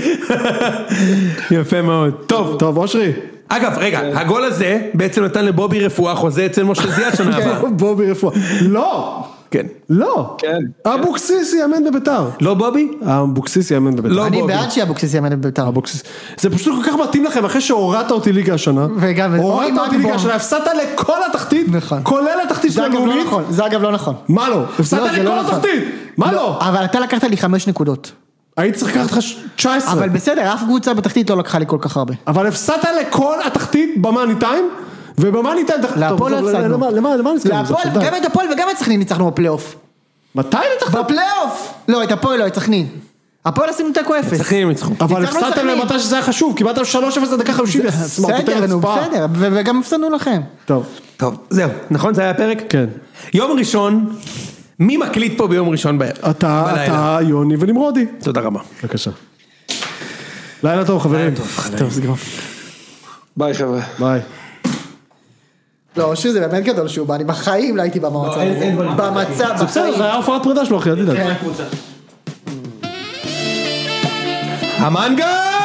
B: יפה מאוד. טוב,
A: טוב, אושרי,
B: אגב, רגע, הגול הזה בעצם נתן לבובי רפואה חוזה אצל משה זיאת שנה
A: כן.
B: הבאה.
A: בובי רפואה. לא!
B: כן.
A: לא!
C: כן.
A: אבוקסיס יאמן בביתר.
B: לא בובי?
A: אבוקסיס יאמן בביתר.
B: לא
E: אני
B: בובי.
E: בעד שאבוקסיס יאמן בביתר.
A: אבוקסיס. זה פשוט כל כך מתאים לכם, אחרי שהורדת אותי ליגה השנה.
E: וגם- אוי,
A: הורדת
E: מה
A: אותי
E: פתאום.
A: ליגה השנה, הפסדת לכל התחתית,
E: נכון.
A: כולל התחתית של
E: זה אגב לא
A: הלאומית.
E: נכון. זה אגב לא נכון.
A: מה לא? הפסדת
E: לא, זה
A: לכל
E: לא נכון.
A: התחתית! מה לא?
E: אבל אתה לקחת לי חמש נקודות.
A: היית צריך לקחת לך 19.
E: אבל בסדר, אף קבוצה בתחתית לא לקחה לי כל כך הרבה.
A: אבל הפסדת לכל התחתית במאני טיים, ובמאני טיים...
E: להפועל
A: טוב,
E: לא הפסדנו.
A: למה- למה למה נזכרנו? בזה
E: להפועל,
A: עכשיו?
E: גם את הפועל וגם את סכנין ניצחנו בפלייאוף.
A: מתי ניצחת?
E: בפלייאוף! לא, את הפועל לא, את סכנין. הפועל עשינו תיקו אפס.
B: סכנין ניצחו.
A: אבל
E: ניצחנו
A: הפסדתם
E: סכנין.
A: להם מתי שזה היה חשוב, קיבלתם 3-0 לדקה 50, יא סמרטוטי
E: בסדר, נו,
A: רצפה.
E: בסדר, ו- וגם הפסדנו לכם.
A: טוב,
B: טוב, זהו, נכון זה היה הפרק?
A: כן.
B: יום ראשון, מי מקליט פה ביום ראשון בערב?
A: אתה,
B: בלילה.
A: אתה, יוני ונמרודי.
B: תודה רבה.
A: בבקשה. לילה טוב חברים. טוב, זה גמר.
C: ביי חבר'ה.
A: ביי.
E: לא, אושרי זה באמת גדול שהוא בא, אני בחיים לא הייתי במועצה. במצב,
A: זה בסדר, זה היה הופעת פרידה שלו אחי, אל תדאג.
B: המנגה!